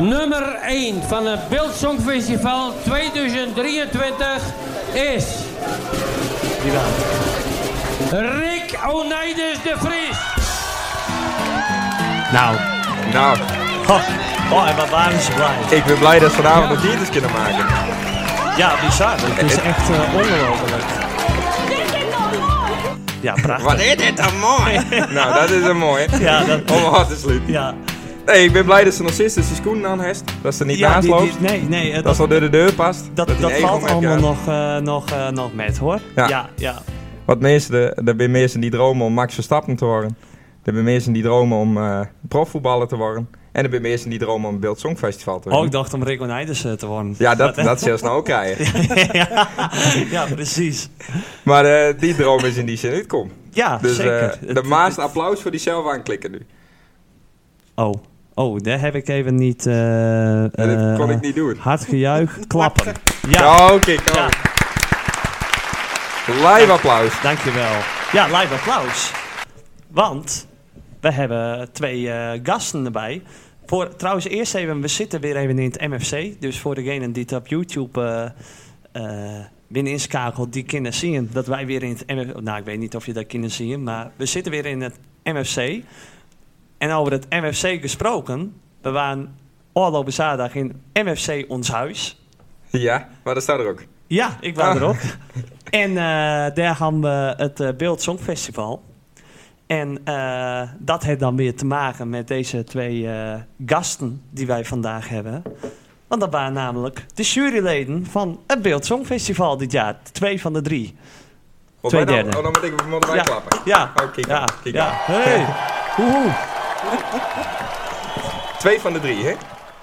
nummer 1 van het Beeldsongfestival 2023 is... Rick Oneides de Vries. Nou, Nou, oh, oh, en wat waren ze blij. ik ben blij dat we vanavond nog diertjes kunnen maken. Ja, bizar. Het is echt eh, ongelooflijk. Ja, prachtig. Wat is dit dan mooi? nou, dat is een mooi. Ja, dat... Om af te sluiten. Ja, Nee, ik ben blij dat ze nog dus steeds de schoenen aan heeft. Dat ze niet ja naast die- die- loopt. nee, nee, eh, Dat dat, ze al door de deur past. dat, die dat een valt eigen allemaal opmerking nog, eh, nog, eh, nog met, hoor. Ja. ja. ja. had. Want mensen, de- er zijn mensen die dromen om Max Verstappen te worden. Er zijn mensen die dromen om eh, profvoetballer te worden. En er zijn mensen die dromen om een Beeld Songfestival te Oh, ik worden. dacht om Rick Oneides eh, te worden. ja, dat, dat zelfs nou ook krijgen. ja, precies. Maar eh, die droom is in die zin uitkom. Ja, Dus eh, zeker. de Het- maast applaus voor die zelf aanklikken nu. Oh, oh, daar heb ik even niet... eh, En dat kon eh, ik niet doen. Hard gejuich, klappen. Ja, Ja. Oké, kom. Ja. Live applaus. dankjewel. Ja, live applaus. Want we hebben twee eh, gasten erbij. Voor, trouwens, eerst even, we zitten weer even in het MFC. Dus voor degenen die het op YouTube eh, eh, binnen inschakelt, die kunnen zien dat wij weer in het MFC... Nou, ik weet niet of je dat kunnen zien, maar we zitten weer in het MFC. En over het MFC gesproken, we waren afgelopen zaterdag in MFC Ons Huis... Ja, maar dat staat er ook. Ja, ik wou Ah. erop. En eh, daar gaan we het eh, Beeld Songfestival. En eh, dat heeft dan weer te maken met deze twee eh, gasten die wij vandaag hebben. Want dat waren namelijk de juryleden van het Beeld Songfestival dit jaar. Twee van de drie. Want Twee wij dan- derde. Oh, dan moet ik we moeten wij Ja. klappen. Ja, Oh, kijk ja, aan, kijk ja. aan. Hey. Woehoe. Twee van de drie, hè?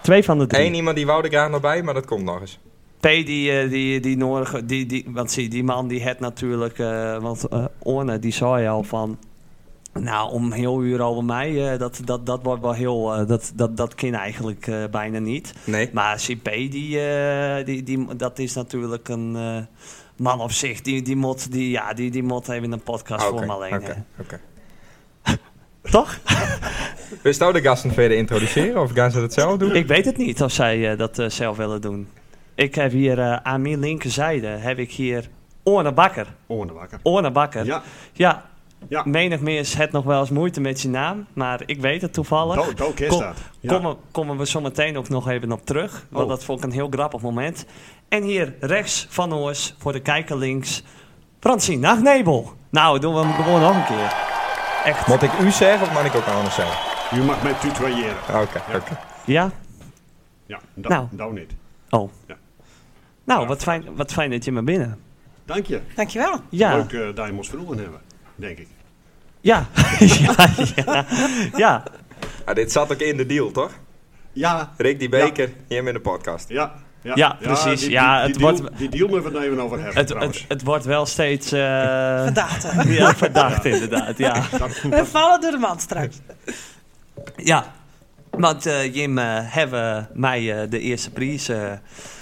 Twee van de drie. Eén iemand die wou er graag nog bij, maar dat komt nog eens. P, die, eh, die, die Noorge, die, die, want zie, die man die het natuurlijk, eh, want eh, Orne die zei al van, nou om heel uur over mij, eh, dat, dat, dat wordt wel heel, eh, dat, dat, dat kan eigenlijk eh, bijna niet. Nee. Maar CP, die, eh, die, die, dat is natuurlijk een eh, man op zich, die, die moet, die, ja, die, die moet even een podcast Ah, voor Oké, me oké, alleen. oké. Toch? Wil je nou de gasten verder introduceren of gaan ze dat zelf doen? Ik weet het niet of zij eh, dat eh, zelf willen doen. Ik heb hier eh, aan mijn linkerzijde, heb ik hier Orne Bakker. Oren wakker. Orne Bakker. Ja, Ja, Ja. menig mens het nog wel eens moeite met zijn naam, maar ik weet het toevallig. dood, dood is Kom- dat. Ja. Komen, komen we zo meteen ook nog even op terug, want Oh. dat vond ik een heel grappig moment. En hier rechts van ons, voor de kijker links, Francine Nachtnebel. Nou, doen we hem gewoon nog een keer. Echt. Moet ik u zeggen of mag ik ook anders zeggen? U mag mij tutoyeren. Oké, oké. Ja? Ja, dat Nou. nou niet. Oh. Ja. Nou, wat fijn, wat fijn dat je maar binnen. Dank je. Dankjewel. Ja. Leuk eh, dat je ons vroegen hebben, denk ik. Ja. ja, ja, ja. Ah, dit zat ook in de deal, toch? Ja. Rick die Beker, hier met de podcast. Ja. Ja, Ja, precies. Ja, het deal, wordt- Die deal moeten we het even over hebben Het, trouwens. het, het wordt wel steeds... eh, Verdacht. hè? Ja, verdacht inderdaad, ja. We vallen door de mand straks. Ja, want eh, Jim eh, hebben mij eh, de eerste prijs eh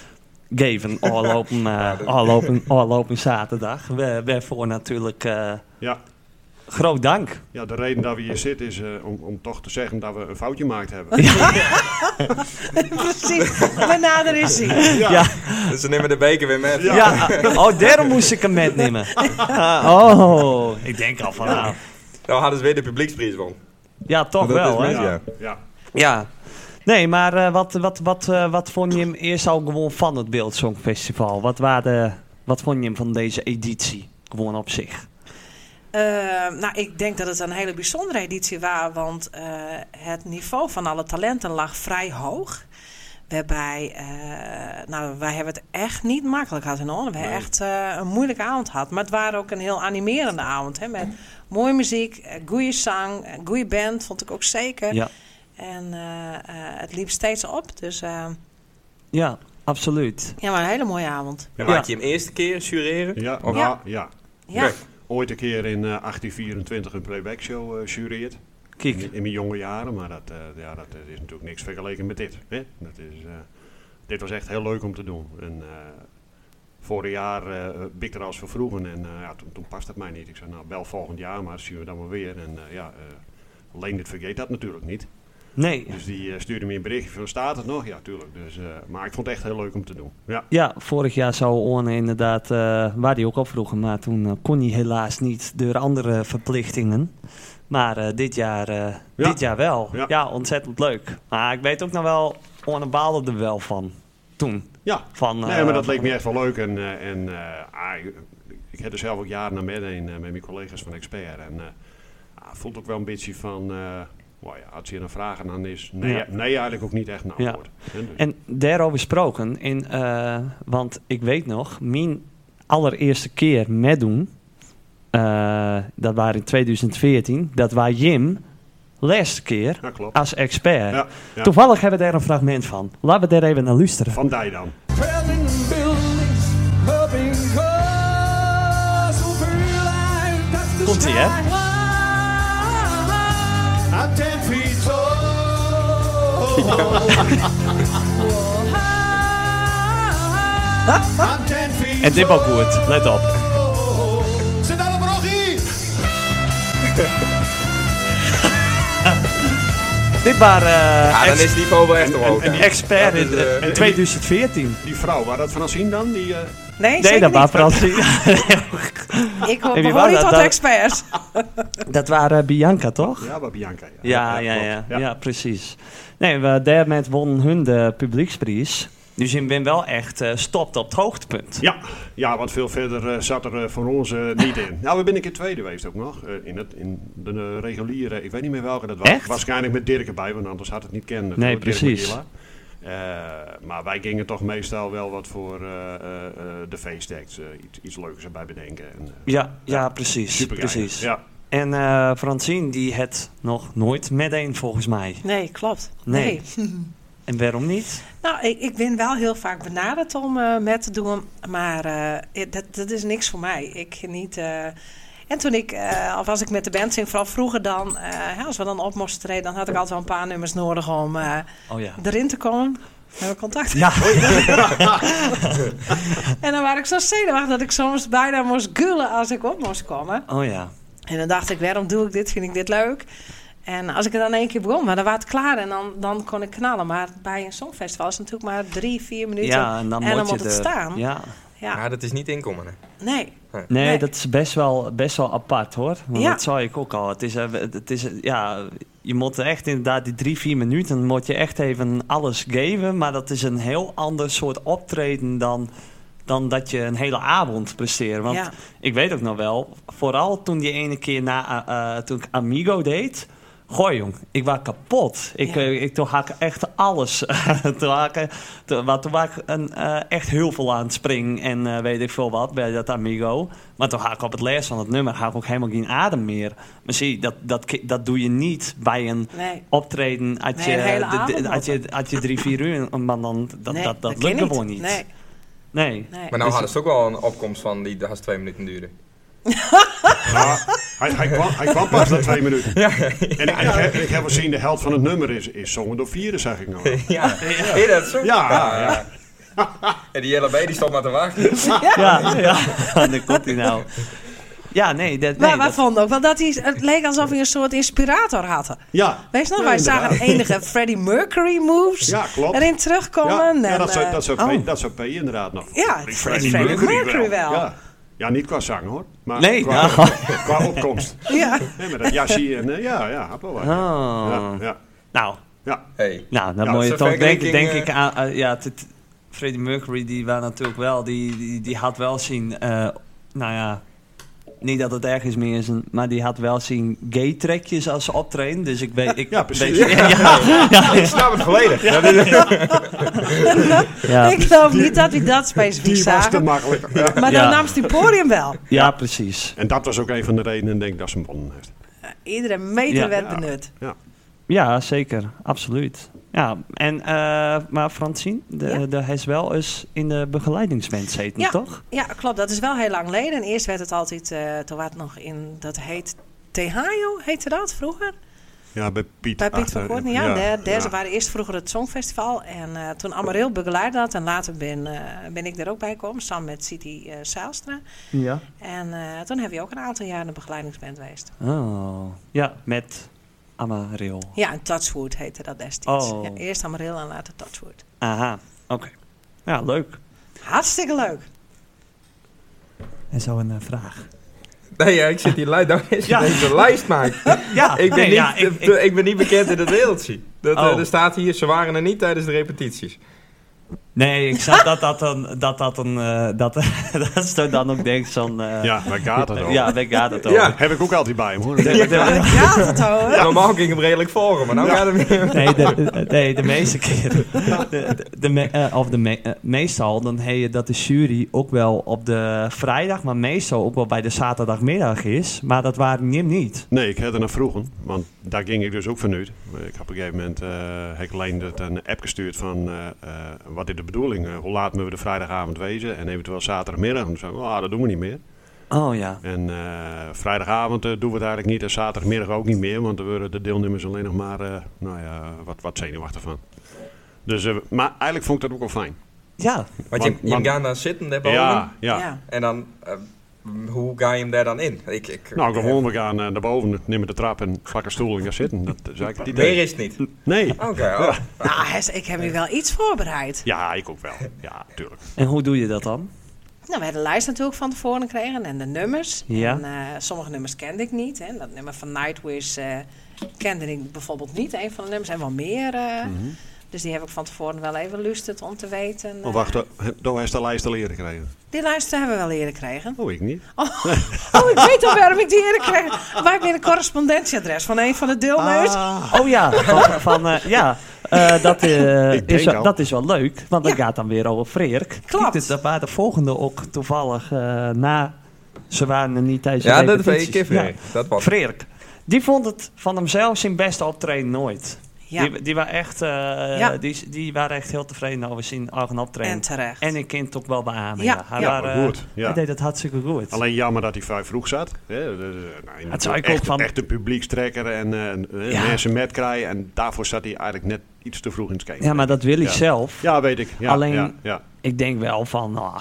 gegeven afgelopen eh, afgelopen- afgelopen zaterdag. We, waarvoor natuurlijk eh, ja. groot dank. Oh. ja, de reden dat we hier zitten is eh, om, om toch te zeggen dat we een foutje gemaakt hebben. Precies. Maar nader is hij. Ja. Ja. Dus ze nemen de Beker weer met. Ja. Ja, oh, daarom moest ik hem metnemen. Ah, oh, ik denk al van nou. Nou hadden ze weer de publieksprijs won. Ja, toch Dat wel, is hè? mis, ja. Ja. ja. Ja. Nee, maar eh, wat, wat, wat, eh, wat vond je hem eerst al gewoon van het Beeldsongfestival? Wat, waren, wat vond je hem van deze editie? Gewoon op zich. Eh, nou, ik denk dat het een hele bijzondere editie was, want eh, het niveau van alle talenten lag vrij hoog. Waarbij, eh, nou, wij hebben het echt niet makkelijk gehad in Orne. We hebben echt eh, een moeilijke avond gehad. Maar het waren ook een heel animerende avond. Hè, met mooie muziek, eh, goede zang, eh, goede band, vond ik ook zeker. Ja. En eh, eh, het liep steeds op. Dus eh, Ja, absoluut. ja, maar een hele mooie avond. En Ja. Maak je hem eerste keer jureren? Ja. Of- ja. ja. Ja. Kijk, Ooit een keer in eh, 1824 een playback show jureerd. Kijk, In, in mijn jonge jaren, maar dat, eh, ja, dat is natuurlijk niks vergeleken met dit. Hè? Dat is, eh, dit was echt heel leuk om te doen. En, eh, vorig jaar eh ben ik er als vervroegen en eh, ja, toen, toen past het mij niet. Ik zei, nou bel volgend jaar, maar zien we dan wel weer. En eh, ja, eh Leen dit vergeet dat natuurlijk niet. Nee. Dus die eh, stuurde me een berichtje van staat het nog? Ja, tuurlijk. Dus, eh, maar ik vond het echt heel leuk om te doen. Ja, Ja, vorig jaar zou Orne inderdaad, eh, waar die ook al vroegen, maar toen eh, kon hij helaas niet door andere verplichtingen. Maar eh, dit, jaar, eh, Ja. dit jaar wel. Ja. Ja. ontzettend leuk. Maar ik weet ook nog wel, Orne baalde er wel van toen. ja. Van, eh, nee, maar dat leek van- me echt wel leuk. En, eh, en eh, ah, ik- ik heb er zelf ook jaren naar mee heen eh, met mijn collega's van Expert. En eh ah, vond ook wel een beetje van, eh well, ja, als je een vraag aan is, nee, Ja. nee eigenlijk ook niet echt een Ja. antwoord. En dus- En daarover gesproken, in, eh, want ik weet nog, mijn allereerste keer meedoen, eh, dat waren in 2014, dat was Jim, laatste keer, ja, klopt. als expert. Ja, ja. Toevallig hebben we daar een fragment van. Laten we daar even naar luisteren. Van Dij dan. Trailing buildings, mobbing cars, hoeveel uit dat de Komt-ie, hè? sky was. Aan ten feet tall. Aan ten feet En dit ook goed, let op. tall. Zit daar een brochie? Dit waren eh, Ah, dan ex- is die niveau wel echt hoog. en- ja. expert in dat is, eh, eh, in 2014. Die vrouw, waar dat van zien dan? Die, eh, Nee, Nee, zeker dat waren niet. Fransien. Ik En hoor, wie behoor waren dat niet tot dan? experts. Dat waren eh, Bianca, toch? ja, bij Bianca. Ja, Ja, ja, klopt. ja, ja, precies. Nee, we, daarmee won hun de publieksprijs. Dus ik ben wel echt eh, stopt op het hoogtepunt. Ja, ja, want veel verder eh, zat er eh, voor ons eh, niet in. Nou, we zijn een keer tweede geweest ook nog. eh, in, het, in de eh, reguliere, ik weet niet meer welke dat was. Echt? Waarschijnlijk met Dirk erbij, want anders had het niet kennen. Nee, Dirk precies. Maquila. Eh, maar wij gingen toch meestal wel wat voor eh, eh, eh, de feestdekt. iets, iets leukers erbij bedenken. En, eh, Ja, ja, precies. supergeinig. precies. Ja. En eh Francine, die het nog nooit met één, volgens mij. Nee, klopt. Nee. nee. En waarom niet? Nou, ik, ik ben wel heel vaak benaderd om eh met te doen, maar eh, dat, dat is niks voor mij. Ik geniet. eh, en toen ik, eh, of als ik met de band zing, vooral vroeger dan, eh, hè, als we dan op moesten treden, dan had ik altijd wel een paar nummers nodig om eh, Oh ja. erin te komen. Hebben we contact? Ja, En dan was ik zo zenuwachtig dat ik soms bijna moest gullen als ik op moest komen. oh ja. En dan dacht ik, waarom doe ik dit? Vind ik dit leuk? En als ik er dan één keer begon, maar dan was het klaar en dan, dan kon ik knallen. Maar bij een songfestival is het natuurlijk maar drie, vier minuten. Ja, en dan, moet je moet het er- staan. Ja. Ja, Maar Ah, dat is niet inkomen. Hè. nee. Nee, Nee. dat is best wel, best wel apart hoor. Want Ja. dat zei ik ook al. Het is, eh, het is, eh, ja, je moet echt inderdaad die drie, vier minuten moet je echt even alles geven. Maar dat is een heel ander soort optreden dan, dan dat je een hele avond presteert. Want Ja. ik weet ook nog wel, vooral toen die ene keer na, eh, eh, toen ik Amigo deed. Goh jong, ik was kapot. Ik, Ja. eh, ik, toen had ik echt alles. toen, had ik, toen, maar toen was ik een, eh, echt heel veel aan het springen en eh, weet ik veel wat bij dat Amigo. Maar toen had ik op het les van het nummer had ik ook helemaal geen adem meer. Maar zie, dat, dat, ki- dat doe je niet bij een Nee. optreden. Als Nee, je, een hele de- de- avond als je, als je drie, vier uur, maar dan, dat, nee, dat, dat ken lukt niet. gewoon niet. Nee, nee. nee. Maar nou hadden ze ook wel een opkomst van die haast twee minuten duurde. Ja, hij, hij, kwam, hij kwam pas na twee minuten. En ik, ik, heb, ik heb gezien, de helft van het nummer is, is zongen door vieren, zeg ik nog. wel. Ja, Hey, dat is zo. Ja, ja. En die hele baby die stond maar te wachten. Ja, ja. dan komt hij nou. Ja, nee. Dat, nee maar we dat- vonden ook wel dat hij... Het leek alsof hij een soort inspirator had. Ja. Weet je nog, Ja, wij inderdaad. zagen enige Freddie Mercury moves Ja, klopt. erin terugkomen. Ja, en, ja, dat, zou, eh, dat, zou P, dat zou P inderdaad nog. Ja, Ik het is vrees Freddie Mercury Mercury wel. Ja. ja, niet qua zang hoor. Maar Nee, qua, nou. qua opkomst. ja. Nee, maar dat jasje en eh, ja, ja, heb wel wat. Ja, Oh. ja, ja. Nou, ja. Hey. nou, dan Ja, moet je zo'n toch denken, vergelijking, denk eh, ik aan... eh, ja, het- het- Freddie Mercury, die was natuurlijk wel... Die, die, die had wel zien... eh, nou ja, niet dat het ergens meer is, een- maar die had wel zien gay-trekjes als ze optreden. Dus ik weet... Ik Ja, precies. weet- ja, ja, Ik snap het volledig. Dat is- ja, ik geloof niet dat ik dat specifiek Die was te zagen. makkelijk. Ja. Maar Ja. dan nam ze die podium wel. ja, precies. En dat was ook een van de redenen, denk ik, dat ze hem wonnen heeft. Iedere meter Ja. werd Ja. benut. Ja. Ja, zeker. Absoluut. Ja, en, eh, maar Francine, de, Ja. de, hij is wel eens in de begeleidingsband zeten, Ja. toch? Ja, klopt. Dat is wel heel lang geleden. Eerst werd het altijd, eh toen was het nog in, dat heet Tehayo, heette dat vroeger? Ja, bij Piet. Bij Piet achter- van Korten, ja. Daar- daar ja. waren eerst vroeger het Songfestival. En eh, toen Amaril begeleid dat. En later ben, eh, ben ik daar ook bij gekomen. Samen met City eh Zijlstra. Ja. En eh, toen heb je ook een aantal jaar in de begeleidingsband geweest. Oh, ja, met Amaril. Ja, en Touchwood heette dat destijds. Oh. Ja, eerst Amaril en later Touchwood. Aha, oké. Ja, leuk. Hartstikke leuk. En zo een eh, vraag. Nee, ja, ik zit hier luid. Nou, is Ja. deze lijst maken. Ja, Ik ben, nee, niet, ja, ik, ik, ik- ben niet bekend in het wereldje. Dat, eh, Oh. er staat hier, ze waren er niet tijdens de repetities. nee, ik zag dat dat een... Dat, dat, een eh, dat, dat ze dan ook denkt zo'n... eh, Ja, waar gaat het over? ja, daar gaat het over. Ja. Heb ik ook altijd bij hem hoor. De- de- Ja, dat hoor. Normaal ging hem redelijk voor, maar nou gaat het weer. Nee, de, de- nee, de meeste keren. De, de, de me- eh, of de me- eh, meestal, dan heet je dat de jury ook wel op de vrijdag, maar meestal ook wel bij de zaterdagmiddag is. Maar dat waren Jim niet. Nee, ik had er naar vroegen, want daar ging ik dus ook vanuit. Maar Ik heb op een gegeven moment eh heb ik Leen dat een app gestuurd van eh, eh, wat is de bedoeling? Eh, hoe laat moeten we de vrijdagavond wezen en eventueel zaterdagmiddag? En toen zei ik, ah, dat doen we niet meer. Oh ja. En eh, vrijdagavond eh, doen we het eigenlijk niet en zaterdagmiddag ook niet meer, want dan worden de deelnemers alleen nog maar, eh, nou ja, wat, wat zenuwachtig van. Dus, eh, maar eigenlijk vond ik dat ook wel fijn. Ja, Want je, Want- je want- gaat daar zitten, daar boven. Ja, ja. Ja. En dan, eh, hoe ga je hem daar dan in? Ik, ik, Nou, eh, gewoon, we gaan eh, naar boven, nemen de trap en pak een stoel en gaan zitten. Dat is eigenlijk het idee. Meer is het niet. Oké, Nee. oh. Nou, Hes, ik heb hier wel iets voorbereid. Ja, ik ook wel. Ja, tuurlijk. en hoe doe je dat dan? Nou, we hebben de lijst natuurlijk van tevoren gekregen en de nummers. Ja. En, eh, sommige nummers kende ik niet. Hè. Dat nummer van Nightwish eh, kende ik bijvoorbeeld niet. Een van de nummers en wel meer. eh. Mhm. Dus die heb ik van tevoren wel even lusterd om te weten. eh. Oh, wacht, eh, daar heeft de lijst al eerder gekregen. Die lijst hebben we wel eerder gekregen. Oh, ik niet. Oh, oh, ik weet al waarom ik die eerder kreeg. Wij hebben een correspondentieadres van een van de deelnemers. Oh ja, van, van, eh, ja eh, dat, eh, Ik denk is, wel- al. dat is wel leuk, want dat Ja. gaat dan weer over Freerk. Klopt. Dus dat waren de volgende ook toevallig eh, na. Ze waren er niet tijdens de Ja, dat weet repetities. ik even. Ja. weer. Dat was. Freerk. Die vond het van hemzelf zijn beste optreden nooit. Ja. Die, die, waren echt, eh, Ja. die, die waren echt heel tevreden over zijn eigen optreden. En terecht. En ik kind het ook wel beamen. Ja. Ja. Hij, Ja, waren, maar eh, goed, ja. hij deed het hartstikke goed. Alleen jammer dat hij vrij vroeg zat. Hè? Dat is, eh, nou, je moet Dat zou ik echt, ook van- Echt een publiekstrekker en eh, Ja. mensen met krijgen. En daarvoor zat hij eigenlijk net iets te vroeg in het skate. ja, maar dat wil ik Ja. zelf. Ja, weet ik. Ja, Alleen- Ja, ja. Ik denk wel van, nou,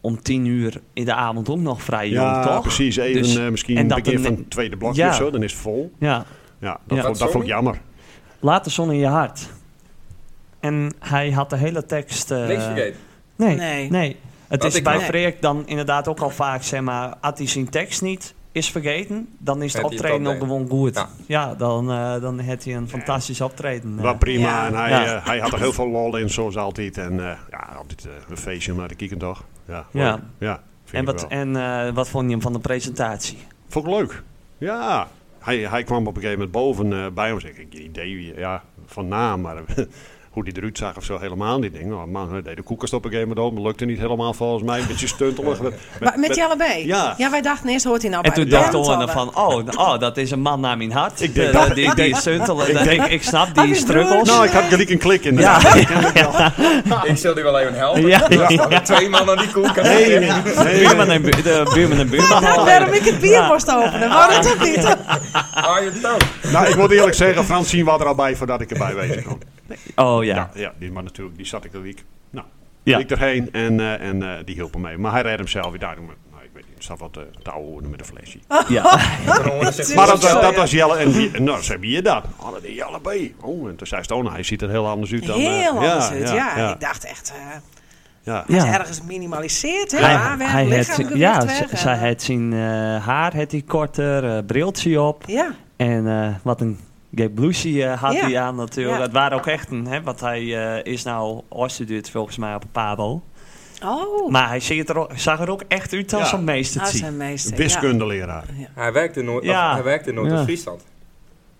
om tien uur in de avond ook nog vrij jong, Ja, toch? precies. Even Dus- eh, misschien en een dat begin een- van het tweede blokje Ja. of zo. Dan is het vol. Ja, Ja, dat, Ja. Vond, dat vond ik jammer. laat de zon in je hart. En hij had de hele tekst... eh, Niks vergeten. Nee, Nee. nee. Het Wat is ik bij wel- Freek dan inderdaad ook al vaak, zeg maar, had hij zijn tekst niet is vergeten, dan is het Had hij het optreden ook optreden. gewoon goed. Ja. Ja, dan, eh dan had hij een fantastisch optreden. eh. Maar prima. Ja. En hij, Ja. eh, hij had er heel veel lol in, zoals altijd. En eh, ja, altijd eh, een feestje om naar de kieken toch. Ja, Ja. leuk. ja vind en ik wat, wel. en eh, wat vond je hem van de presentatie? Vond ik leuk. Ja. Hij, hij kwam op een gegeven moment boven eh, bij ons. Ik heb geen idee wie- ja, van naam, maar hoe die eruit zag of zo helemaal niet. Ik denk, oh man, hij deed de koelkast op een gegeven moment open. Lukte niet helemaal volgens mij. Een beetje stuntelig. Met, Maar met die allebei? Ja. wij dachten eerst hoort hij nou en bij toen de dacht deeltallen. Owen van, oh, n- oh, dat is een man naar mijn hart. Ik Eh, denk dat- die, ik die denk- stuntelen. ik Ik, denk- ik snap die is struggles. broers. Nou, ik had gelijk een klik in. ja, Ik zal u wel even helpen. Ja. Er staan er twee man aan die koelkast. Eh, buurman en bu- de buurman en buurman. Nou, waarom ik het bier moest openen, waarom dat niet? Are you down? Nou, ik moet eerlijk zeggen, Fransien was er al bij voordat ik erbij wezen kon. Oh Ja, ja. ja die, maar natuurlijk, die zat ik er week. Nou, Ja. ik erheen en, eh, en eh, die hielp hem mee. Maar hij redde hem zelf weer daar. Maar, nou, ik weet niet, er zat wat eh touw worden met een flesje. ja. Maar dat, Zo, dat, ja. was Jelle en die, nou, ze hebben je dat. Oh, dat is Jelle B. Oh, en toen zei ze, oh, nou, hij ziet er heel anders uit dan... eh, Heel anders uit, ja. ja, Ik dacht echt, eh ja. hij is Ja. ergens minimaliseerd, hè? Hij- Ja, weg, hij had lichaamgewicht zijn- ja, weg, z- en, zij eh, had zijn eh, haar had hij korter, eh, briltje op. Ja, En eh, wat een gay blouseje eh, had Ja. hij aan natuurlijk. Ja. Het waren ook echt een, hè, want hij eh, is nou afgestudeerd volgens mij op een Pabo. oh, Maar hij ziet er ook- zag er ook echt uit als Ja. een meester. dat zijn meester. Wiskundeleraar. Hij werkt in Noord- Ja. of hij werkt in Noord-Friesland.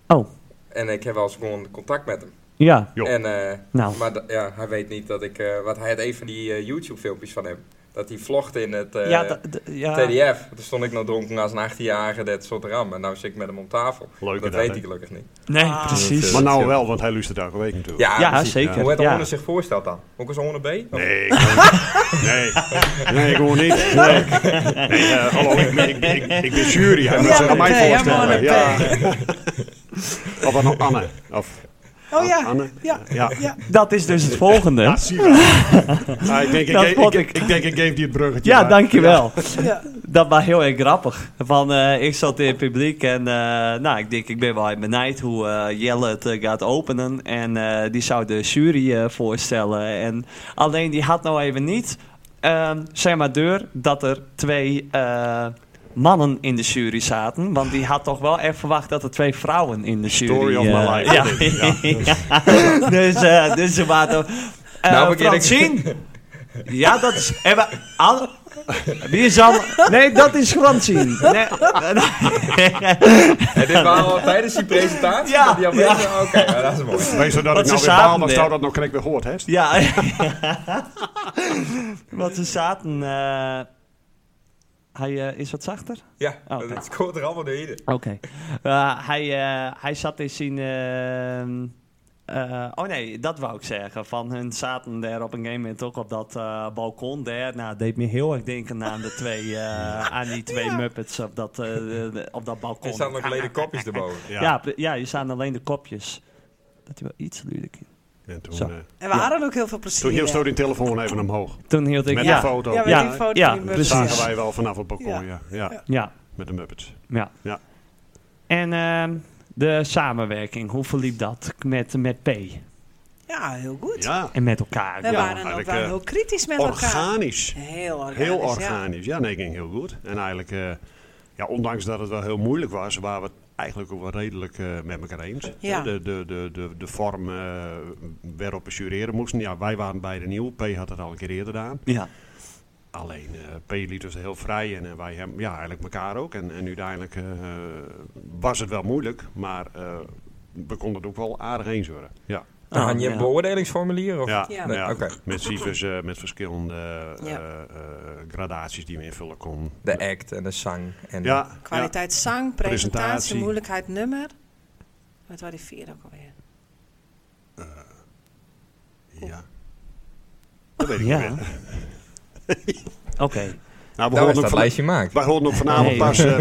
Oh, En ik heb wel eens gewoon contact met hem. ja. Jo. En, eh, Nou. Maar da- ja, hij weet niet dat ik... eh wat hij had een van die eh, YouTube-filmpjes van hem. Dat hij vlogt in het eh, ja, da- d- ja. TDF. Toen stond ik nog dronken als een 18-jarige, dat soort ram. En nou zit ik met hem om tafel. Leuke dat dat, weet hè? hij gelukkig niet. Nee, precies. Maar nou wel, want hij luistert elke week natuurlijk. Ja, ja, precies. zeker. Hoe het ja. Orne zich voorstelt dan? Ook als Orne B? Of- Nee, ik gewoon niet. nee, nee, gewoon niet. Nee, nee eh, hallo, ik ben, ik, ben- ik, ik ben jury. Hij moet Ja, zich aan mij oké, ja, voorstellen. maar Ja. Of aan Anne. Of Oh ja. Anne? Ja. Ja. ja. Dat is dus het volgende. Ja, zie je wel. Ja, Ah, ik, denk, ik, Dat ik, vond ik, ik. ik denk, ik geef die het bruggetje. Ja, maar- dankjewel. Ja. Dat was heel erg grappig. Van, eh, ik zat in het publiek en eh, nou, ik denk, ik ben wel benijd hoe eh, Jelle het eh, gaat openen. En eh, die zou de jury eh, voorstellen. En alleen die had nou even niet, ehm, zeg maar, deur dat er twee eh, mannen in de jury zaten. Want die had toch wel echt verwacht dat er twee vrouwen in de jury Story of my eh, life. Ja. Ja. dus, eh, dus ze waren toch. eh, Nou, begin ik- Fransien, ja, dat is. En we, al- wie is al, Nee, dat is Fransien. Nee, En dit waren al tijdens die presentatie? Ja. dat die aanwezig- Oké, nou, dat is mooi. Wees zodat Wat ik nou ze weer zaten baal, maar er. zou dat nog kreeg weer gehoord, hè? ja. Want ze zaten. eh, hij eh, is wat zachter? Ja, Oh, Oké. dat scoort er allemaal door ieder. Oké. Eh, hij, eh, hij zat in zijn. ehm, eh, oh nee, dat wou ik zeggen. Van hun zaten daar op een gegeven moment ook op dat eh, balkon daar. Nou, deed me heel erg denken aan, de twee, eh, aan die twee Muppets op dat, eh, de- de- op dat Oh, balkon. Er staan nog leden kopjes erboven. Ja, pre- ja, je staan alleen de kopjes. Dat hij wel iets luider kind. En Zo. toen, eh En we hadden ook heel veel plezier. toen hield hè? stoot die telefoon even omhoog. Toen hield ik... Met ja, een foto. Ja, met ja, die foto ja, die we- Dat precies. zagen wij wel vanaf het balkon, Ja. ja. Ja, Ja, Met de Muppets. ja. Ja. En ehm, de samenwerking, hoe verliep dat met, met P Ja, heel goed. Ja, en met elkaar? We Ja, waren ook eigenlijk, wel eh, heel kritisch met elkaar. organisch. Heel organisch. Heel ja. organisch. Ja, nee, ging heel goed. En eigenlijk, eh, ja, ondanks dat het wel heel moeilijk was, waren we het eigenlijk ook wel redelijk eh, met elkaar eens. Ja. De, de, de, de, de vorm eh, waarop we jureren moesten. Ja, wij waren beide nieuw. P had het al een keer eerder gedaan. Ja. Alleen eh, P liet ons heel vrij en eh, wij hem, ja, eigenlijk elkaar ook. En, en uiteindelijk eh, was het wel moeilijk, maar eh, we konden het ook wel aardig eens worden. Oh, Ja, Dan Ah, had je ja. een beoordelingsformulier? Of? ja, Ja. ja. Nee, oké. met cijfers, eh, met verschillende eh, Ja. eh, eh, gradaties die we invullen konden. De act en de zang. En Ja, ja. Kwaliteit zang, presentatie, Presentatie. moeilijkheid nummer. Wat waren die vier ook alweer? Ja. Dat weet ik Ja. niet meer. Oké. Nou, we Daar hoorden is ook dat van- lijstje maakt. Wij hoorden ook vanavond Nee. pas, eh,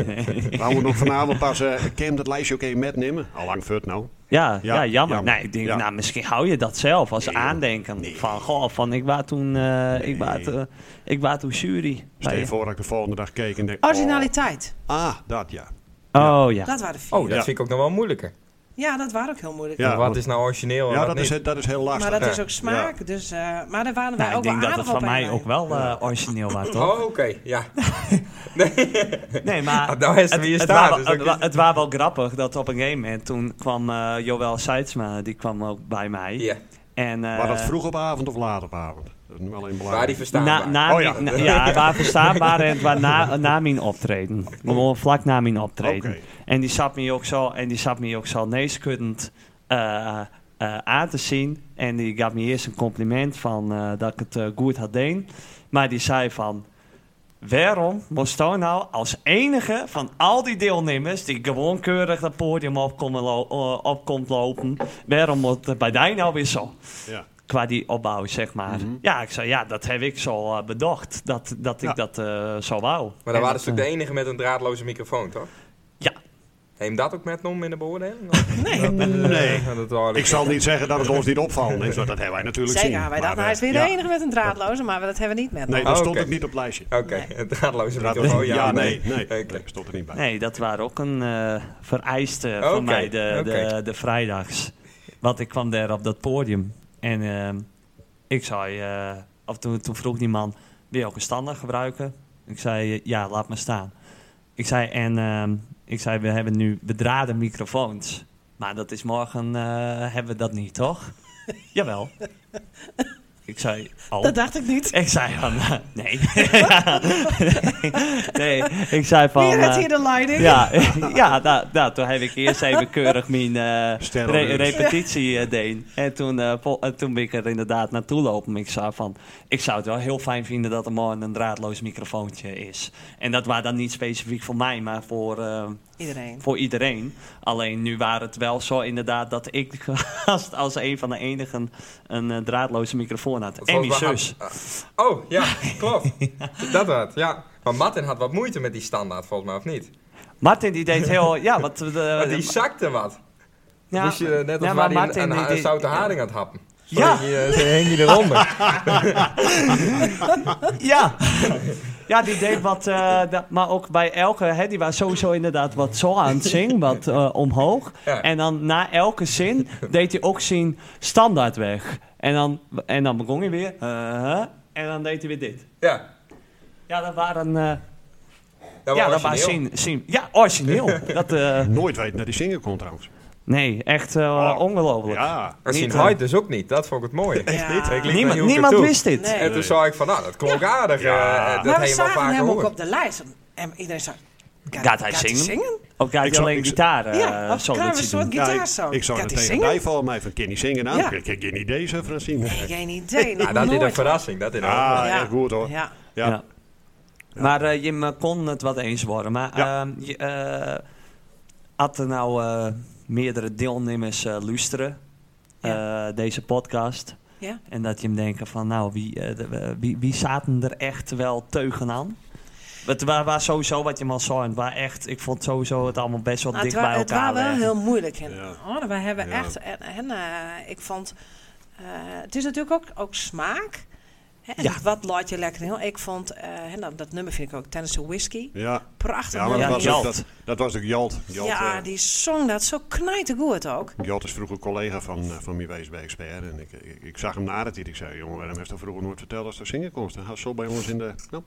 wij hoorden ook vanavond pas, eh, Kim, dat lijstje ook even metnemen. Al lang vult nou. Ja, ja, Ja, jammer. jammer. Nee, ik denk, Ja. nou, misschien hou je dat zelf als Nee, joh. aandenken. Nee. Van, goh, van ik was toen, eh, ik was, eh, ik was toen jury. Stel Bij- je voor dat ik de volgende dag keek en dacht... Originaliteit. oh, ah, dat ja. Oh ja. Dat waren de vier. Oh, dat Ja. vind ik ook nog wel moeilijker. Ja, dat waren ook heel moeilijk. Ja, Want wat want- is nou origineel en Ja, wat dat niet? is, dat is heel lastig. maar dat is Ja. ook smaak. Dus, eh, maar daar waren wij Nou, ik ook wel denk dat het aardig op. van mij allebei. ook wel eh, origineel was, toch? Oh, oké. Ja. Nee, maar Ah, nou is het wie je het, staat, wa- dus het, dat wa- is- het was wel grappig dat op een gegeven moment toen kwam eh Joël Seidsma, die kwam ook bij mij. Ja. En, eh, Maar dat vroeg op avond of laat op avond? Dat is nu alleen belangrijk. Waar die Na, verstaanbaar. na, Oh, ja. mijn- na- ja. het waar verstaanbaar en het waar na, na mijn optreden. Gewoon vlak na mijn optreden. Oh. Oké. En die zat me ook zo, en die zat me ook zo neeskuddend eh, eh, aan te zien. En die gaf me eerst een compliment van eh, dat ik het eh, goed had deen. Maar die zei van, waarom moest hij nou als enige van al die deelnemers die gewoon keurig dat podium op, komen lo- eh, op komt lopen, waarom moet het bij jou nou weer zo? Oh, Ja. qua die opbouw, zeg maar. Ja, ik zei, ja, dat heb ik zo eh, bedacht, dat, dat ik Ja. dat eh, zo wou. Maar En dat, dan waren ze eh, natuurlijk de enige met een draadloze microfoon, toch? Ja. Neem dat ook met nom in de beoordeling? Nee. Nee. dat hoor Ik zal niet zeggen dat het ons niet opvallen is, want dat hebben wij natuurlijk Zeker, zien. wij dachten, Maar, hij is weer eh, de ja. enige met een draadloze, maar dat hebben we niet met Nee, hem. dat Oh, stond oké. ook niet op het lijstje. Oké, een draadloze microfoon, Dat- ja, ja, of nee, nee, Oké. nee, stond er niet bij. Nee, dat waren ook een eh vereiste Oké, van mij, de, de, oké. de vrijdags. Want ik kwam daar op dat podium. En ehm, ik zei, eh, of toen, toen vroeg die man, wil je ook een standaard gebruiken? Ik zei, eh, ja, laat maar staan. Ik zei, en ehm, ik zei, we hebben nu bedraden microfoons. Maar dat is morgen, eh, hebben we dat niet, toch? Jawel. Ik zei, al. Dat dacht ik niet. Ik zei van, eh, nee. nee. ik zei van... Wie redt eh, hier de leiding? ja, ja nou, nou, toen heb ik eerst even keurig mijn eh, Sterren re- dus. repetitie eh deed. En toen, eh, vol- en toen ben ik er inderdaad naartoe lopen. Ik zei van, ik zou het wel heel fijn vinden dat er morgen een draadloos microfoontje is. En dat was dan niet specifiek voor mij, maar voor, eh, Iedereen. voor iedereen. Alleen nu waren het wel zo inderdaad dat ik als, als een van de enigen een eh, draadloze microfoon had. En mijn Volgens mij zus. had- ah, Oh, ja, klopt. Dat was, ja. Maar Martin had wat moeite met die standaard, volgens mij, of niet? Martin die deed heel... Ja, wat, eh, Want die zakte wat. Ja, moest je eh, net als ja, waar maar die Martin, een, een, die- een zoute haring aan het happen. Zo Ja. hing je- Zo hing je eronder. Ja. Ja, die deed wat, eh, dat- maar ook bij elke, hè, die was sowieso inderdaad wat zo aan het zingen, wat eh, omhoog. Ja. En dan na elke zin deed hij ook zien standaard weg. En dan, en dan begon hij weer, eh, en dan deed hij weer dit. Ja, Ja, dat waren, eh Oh, dat ja, was dat waren origineel. zin, zin- ja, origineel. dat, eh, Nooit weten dat die zingen kon trouwens. nee, echt eh, Oh. ongelooflijk. Ja. Dat niet, zien eh, Hyde dus ook niet. Dat vond ik het mooi. Echt niet? Ik liep naar Niemand, Joeken niemand toe. wist dit. Nee. En toen zag ik van, nou, dat klonk aardig. Ja. eh, dat maar we heb je wel zagen vaker hem ook gehoord. op de lijst. En iedereen zei, gaat, Gaat hij zingen? Ook hij Ik zou- alleen ik zou- gitaar. eh, Ja, of zo dat kruiven hij soort doet. gitaar ik, zo. ik zou er Gaat hij tegen zingen? bijvallen, maar even Kenny zingen aan. Ja. Ik heb geen idee, zo, Francine. Nee, geen Nou, idee. Ja, Nou, dat is een nooit. verrassing. Dat is een- Ah, ja, goed hoor. Ja. Ja. Ja. Maar eh, je me kon het wat eens worden. Maar Ja. ehm, je, eh, had er nou eh, meerdere deelnemers eh, luisteren, Ja. eh, deze podcast. Ja. En dat je hem denken van, nou, wie, eh, de- eh, wie, wie zaten er echt wel teugen aan? Het wa- was sowieso wat je maar zo en waar echt, ik vond sowieso het allemaal best wel Nou, dik het bij was het elkaar. was wel liggen. heel moeilijk. En, Ja. oh, we hebben Ja. echt. En, en, eh, ik vond. eh, het is natuurlijk ook, ook smaak. Hè, en Ja. Wat laat je lekker heel. Ik vond. eh, hè, nou, dat nummer vind ik ook. Tennis de Whiskey. Ja. Prachtig. Ja, maar nummer. dat Ja, was, ook, Jalt. dat, dat was ook Jalt. Jalt, ja, eh, die zong dat zo knijtergoed ook. Jalt is vroeger collega van, eh, van mij geweest bij Expert. En ik, ik, ik zag hem na het lied. Ik zei, jongen, waarom heeft hij vroeger nooit verteld als hij zingen kon? Dan had zo bij ons in de... Nou,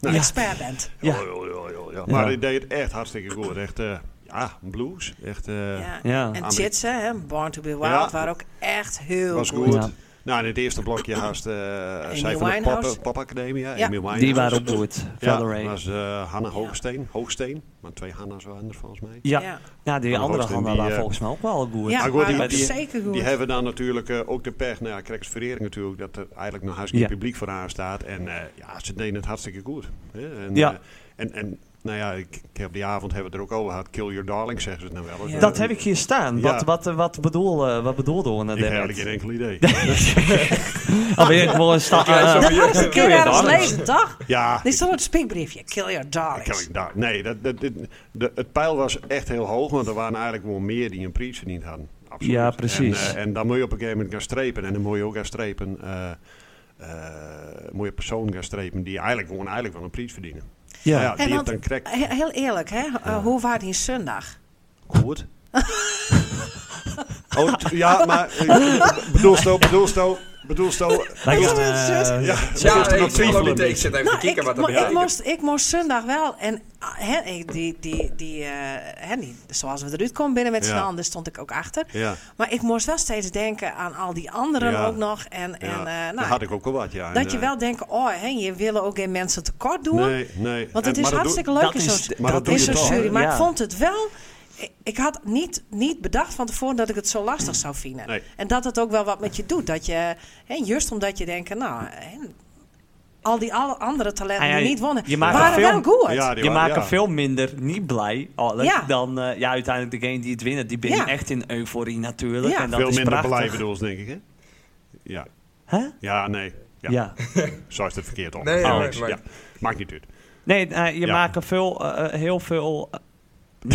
Ja. Expert bent. Ja. ja, ja, ja, ja. Ja. Maar hij deed het echt hartstikke goed. Echt, eh, ja, blues. Echt, eh, Ja. Ja. En Ameri- Chitsen, hè, Born to be Wild, Ja. waren ook echt heel was goed. goed. Ja. Nou, in het eerste blokje haast eh zij van de Winehouse. Pop, pop Academia. Ja. Amy Die Winehouse. waren ook goed. Ja, Valerie. dat was eh, Hanna Hoogsteen. Hoogsteen. Maar twee Hanna's waren er volgens mij. Ja. Ja. Ja. die Van de andere Hoogste, handen die, waren eh, volgens mij ook wel goed. Ja, Maar maar goed, die, dat is die, zeker goed. die hebben dan natuurlijk eh, ook de pech, nou ja, Krijgs Verering natuurlijk, dat er eigenlijk nog hartstikke Ja. publiek voor haar staat. En eh, ja, ze deden het hartstikke goed. hè. En, Ja. eh, en, en nou ja, ik, ik heb die avond hebben we het er ook over gehad. Kill your darling, zeggen ze het nou wel. eens. Ja. Dat heb ik hier staan. Ja. Wat, wat, wat, bedoel, eh, wat bedoelde we nou Ik heb eigenlijk geen daarnet? enkel idee. Alweer Ah, gewoon een sta- Ja, eh, zo- Dat hadden ze een keer Kill your ergens darlings. lezen, toch? ja, Dit stond op het spiekbriefje. Kill your ik heb darlings. ik daar. Nee, dat, dat, dit- de, het pijl was echt heel hoog, want er waren eigenlijk wel meer die een prijs verdiend hadden. Absoluut. Ja, precies. En, eh, en dan moet je op een gegeven moment gaan strepen. En dan moet je ook gaan strepen, eh eh, moet je persoon gaan strepen die eigenlijk gewoon eigenlijk wel een prijs verdienen. Ja. Nou ja, die En heeft want, dan krek he- heel eerlijk, hè? eh, hoe was die zondag? Goed. oh, t- ja, maar eh, bedoel sto, bedoel sto, bedoel sto. Lijkt Ja, me, dat is eh, Ja, Ja, moest er nog ik zit twijfelen. ook niet- ik zit even te Nou, kijken ik, wat dat maar ik, betekent. moest, ik moest zondag wel. En ah, hè, ik, die, die, die, eh, hè, die, zoals we eruit komen binnen met z'n Ja. handen, stond ik ook achter. Ja. Maar ik moest wel steeds denken aan al die anderen Ja. ook nog. En, en, Ja, eh, nou, daar had ik ook al wat, ja. En, dat je eh, wel denkt, oh, hè, je wil ook geen mensen tekort doen. Nee, nee. Want En- het is Eh, maar dat hartstikke doe- leuk dat in is- zo'n maar dat doe in je zo'n toch? jury. Maar Ja. ik vond het wel... ik- Ik had niet, niet bedacht van tevoren dat ik het zo lastig zou vinden. Nee. En dat het ook wel wat met je doet. Dat je, hè, just omdat je denkt, nou... hè, al die alle andere talenten Ah, ja, die je- niet wonnen, je maakt waren een wel film. goed. Ja, die Je wa- maakt er ja. veel minder niet blij al- Ja. dan eh, ja, uiteindelijk degene die het winnen. Die ben je Ja. echt in euforie natuurlijk. Ja. En dat veel is minder prachtig. beleid bedoel ze, denk ik, hè? Ja, Hè? ja nee. Ja. Ja. Zo is het verkeerd om. Nee, Maar maar- niks, maar- ja. Maakt niet uit. Nee, eh, je Ja. maakt er veel, eh, eh, heel veel eh,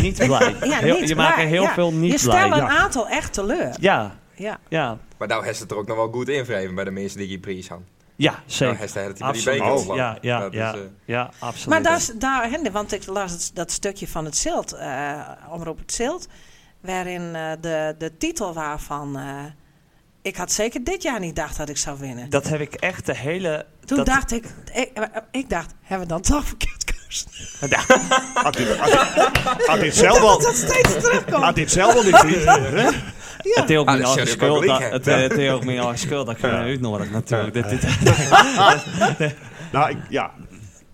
niet blij. Ja, Heel- niet je maakt er blij, heel ja. veel niet Je blij. stelt een ja. aantal echt teleur. Ja. Ja. Ja. Maar nou heeft het er ook nog wel goed invreven bij de mensen die die prijs hadden. ja, Nou, zeker. heeft hij het die bij die Absoluut. beker Oh. ontslagen. Ja, ja, Dat is, ja, eh, ja, absoluut. Maar daar, is- daar, hè, want ik las het- dat stukje van het Zilt, eh Omroep het Zilt, waarin eh, de, de titel waarvan... eh, ik had zeker dit jaar niet gedacht dat ik zou winnen. Dat heb ik echt de hele... Toen dat- dacht ik, ik, eh, ik dacht, hebben we dan toch verkeerd gekozen? Had dit- had dit- Had dit zelf al... Dat dat steeds terugkomt. Had dit zelf al niet verdiend, hè? Het is ook mijn Ah, dat eigen is serieus schuld. dat- wel Het eh, leuk, hè? het is ook mijn eigen schuld dat ik eruit uitnodig natuurlijk. Dit- dit- Nou, ik, ja.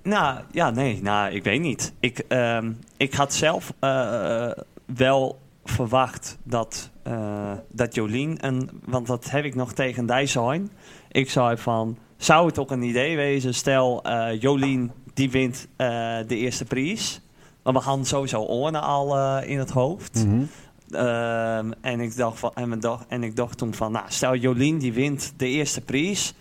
Nou, ja, nee, nou, ik weet niet. Ik, ehm, ik had zelf eh, eh, wel verwacht dat, eh, dat Jolien, en, want dat heb ik nog tegen Dijsselheim. Ik zei van, zou het ook een idee wezen, stel eh, Jolien die wint eh, de eerste prijs. Maar we hadden sowieso Orne al eh, in het hoofd. Ehm, en, ik dacht van, en, we dacht, en ik dacht toen van, nou, stel Jolien die wint de eerste prijs.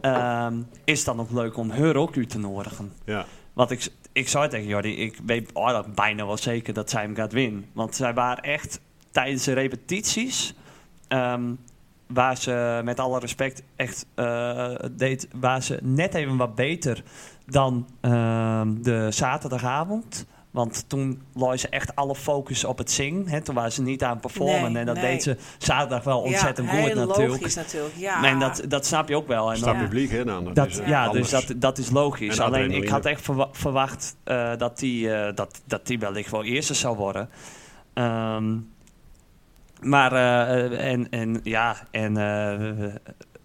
ehm, is het dan ook leuk om haar ook u te nodigen? ja. Want ik, oh, ik zou tegen Jordi, ik weet eigenlijk bijna wel zeker dat zij hem gaat winnen. Want zij waren echt tijdens de repetities, ehm, waar ze met alle respect echt eh, deed, waar ze net even wat beter dan ehm, de zaterdagavond. Want toen lag ze echt alle focus op het zingen. Hè? Toen was ze niet aan het performen. Nee, en dat nee. deed ze zaterdag wel ontzettend ja, goed heel natuurlijk. logisch natuurlijk. Ja. En dat, dat snap je ook wel. En Staat dan- publiek, hè? Dan, dat, is, eh, ja, anders. dus dat, dat is logisch. En Alleen adrenaline. ik had echt verwa- verwacht eh, dat, die, eh, dat, dat die wellicht wel eerste zou worden. Ehm, maar, eh, en, en ja, en, eh,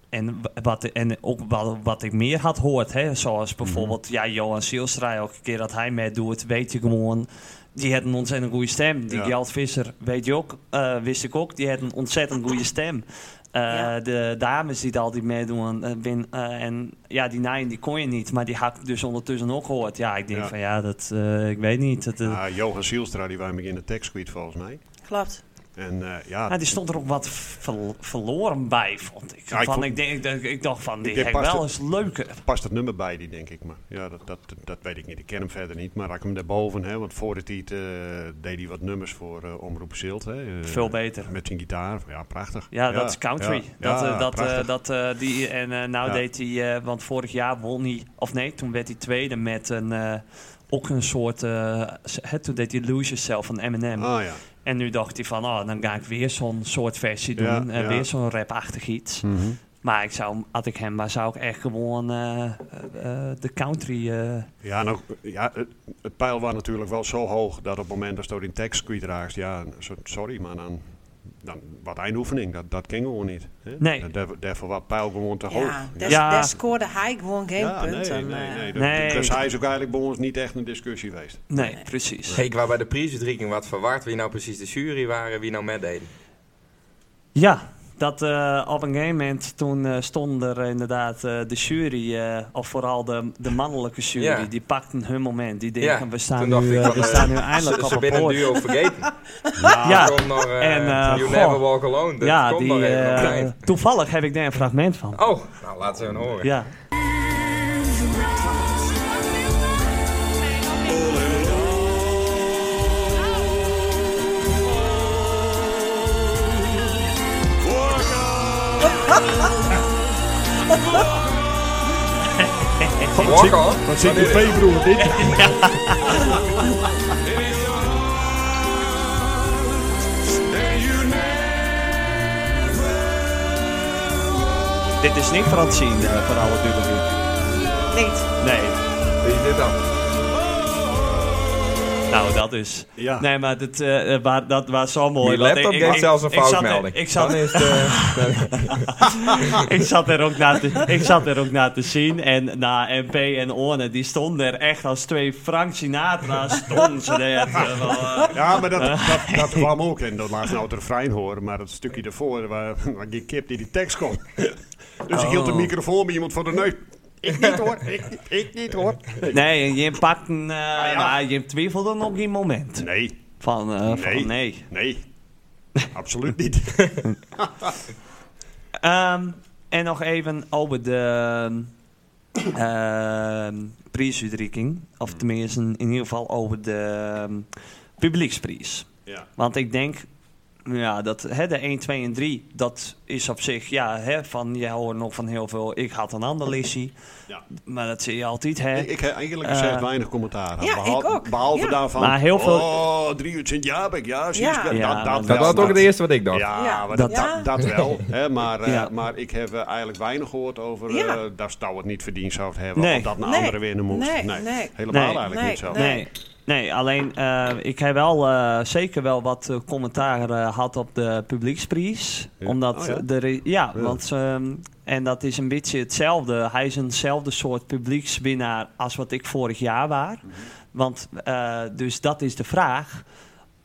en, wat, en ook wat, wat ik meer had gehoord, hè, zoals bijvoorbeeld Mhm. ja, Johan Sielstra, elke keer dat hij meedoet, weet je gewoon, die had een ontzettend goede stem. Die Ja. Gjald Visser, weet je ook, eh, wist ik ook, die had een ontzettend goede stem. Eh, Ja. De dames die daar altijd meedoen, eh, win, eh, en ja, die naaien die kon je niet, maar die had ik dus ondertussen ook gehoord. Ja, ik denk Ja. van ja, dat, eh, ik weet niet. Dat, eh, Ah, Johan Sielstra, die waren in de tekstquiet volgens mij. Klopt. En eh, ja, Ja, die stond er ook wat ver- verloren bij, vond ik. Ja, ik van, vond- ik, denk, ik, ik dacht van, dit denk heb past wel het- eens leuker. past het nummer bij die, denk ik. Maar ja, dat, dat, dat weet ik niet. Ik ken hem verder niet. Maar raak hem daarboven, hè, want voor de tijd eh, deed hij wat nummers voor eh, Omroep Zilt. Hè, eh, Veel beter. Met zijn gitaar. Ja, prachtig. Ja, dat is country. ja, dat, eh, ja, dat, eh, prachtig. dat, eh, die, en eh, nou Ja. deed hij, eh, want vorig jaar won hij, of nee, toen werd hij tweede met een, eh, ook een soort, eh, s- hè, toen deed hij Lose Yourself van Eminem. Ah ja. En nu dacht hij van, oh, dan ga ik weer zo'n soort versie doen. Ja, en ja. Hm. weer zo'n rapachtig iets. Maar ik zou, hem- had ik hem, maar zou ik echt gewoon eh, eh, eh, de country... eh, Ja, nou, ja, het, het pijl was natuurlijk wel zo hoog dat op het moment dat je in tekst kwijt raakt, ja, so- sorry, maar dan, dan wat eindoefening, dat, dat ging gewoon niet. Hè? Nee. Dat- Daarvoor daarvoor was pijl gewoon te hoog. Ja, daar Ja. daar scoorde hij gewoon geen Oh, Ja, nee, punten. nee, eh. nee. Nee. Dat- Dus hij is ook eigenlijk bij ons niet echt een discussie geweest. nee, precies. Hey, ik was bij de prijsuitreiking wat verward wie nou precies de jury waren, wie nou meededen. Ja, dat eh, op een gegeven moment toen eh, stond er inderdaad eh, de jury, eh, of vooral de, de mannelijke jury, Ja. die pakten hun moment. Die denken, Ja, we toen staan nu, dacht ik eh, van, we eh, staan nu eindelijk Ze, op ze een binnen een poort. duo vergeten. Ja. Komt nog, eh, En, eh, you goh. never walk alone. Dat Ja, komt die, nog even eh, overeind. toevallig heb ik daar een fragment van. Oh, nou laten we hem horen. Ja. Walk on. Wat zit die veebroer dit? Dit is niet Francine, eh, voor alle duidelijkheid. Niet. Nee, Wie is dit dan? nou dat is... Ja. Nee, maar dat, eh, eh, wa- dat was zo mooi. Die want laptop geeft zelfs een ik zat er- foutmelding. Ik zat, Dan is de... ik, zat er ook naar te, ik zat er ook naar te zien. En na MP en Orne, die stonden er echt als twee Frank Sinatra. Stonden ze er. eh, wel, eh. Ja, maar dat, dat, dat kwam ook. En dat laat nou het refrein horen. Maar dat stukje daarvoor, waar, waar die kip die die tekst kon. Dus ik hield de microfoon bij iemand voor de neus. Ik niet hoor, ik, niet, ik niet hoor. Nee, en je pakt een. eh, Ah, ja. Maar je twijfelde nog geen moment. Nee, Van eh, van, nee. nee, nee. Absoluut niet. Ehm, en nog even over de. ehm prijsuitreiking. Hmm. Of tenminste, in ieder geval over de. ehm, publieksprijs. Ja. Want ik denk, ja, dat, hè, de 1, 2 en 3, dat is op zich, ja, hè, van, jij hoort nog van heel veel, ik had een ander lissie. Ja. Maar dat zie je altijd, hè. Ik, ik heb eigenlijk gezegd Eh, weinig commentaar. ja, behalve ik ook. behalve Ja. daarvan. Maar heel veel- Oh, drie uur sint Jabek, ja, zie je, Ja. dat- Ja, dat, maar dat, Dat wel. was ook het eerste wat ik dacht. Ja, Ja. maar Dat- dat, dat, dat wel. hè, maar, eh, Ja. maar ik heb eh, eigenlijk weinig gehoord over eh Ja. dat zou het niet verdiend zou hebben. Nee. Of dat een Nee. andere winnen moest. Nee, Nee, nee. helemaal Nee. eigenlijk Nee, niet zo. nee. Nee, nee alleen eh, ik heb wel eh, zeker wel wat eh, commentaar eh had op de publieksprijs. Ja. Omdat Oh, ja? de re- ja, want ehm, en dat is een beetje hetzelfde. Hij is eenzelfde soort publiekswinnaar als wat ik vorig jaar was. Mhm. Want eh, dus dat is de vraag.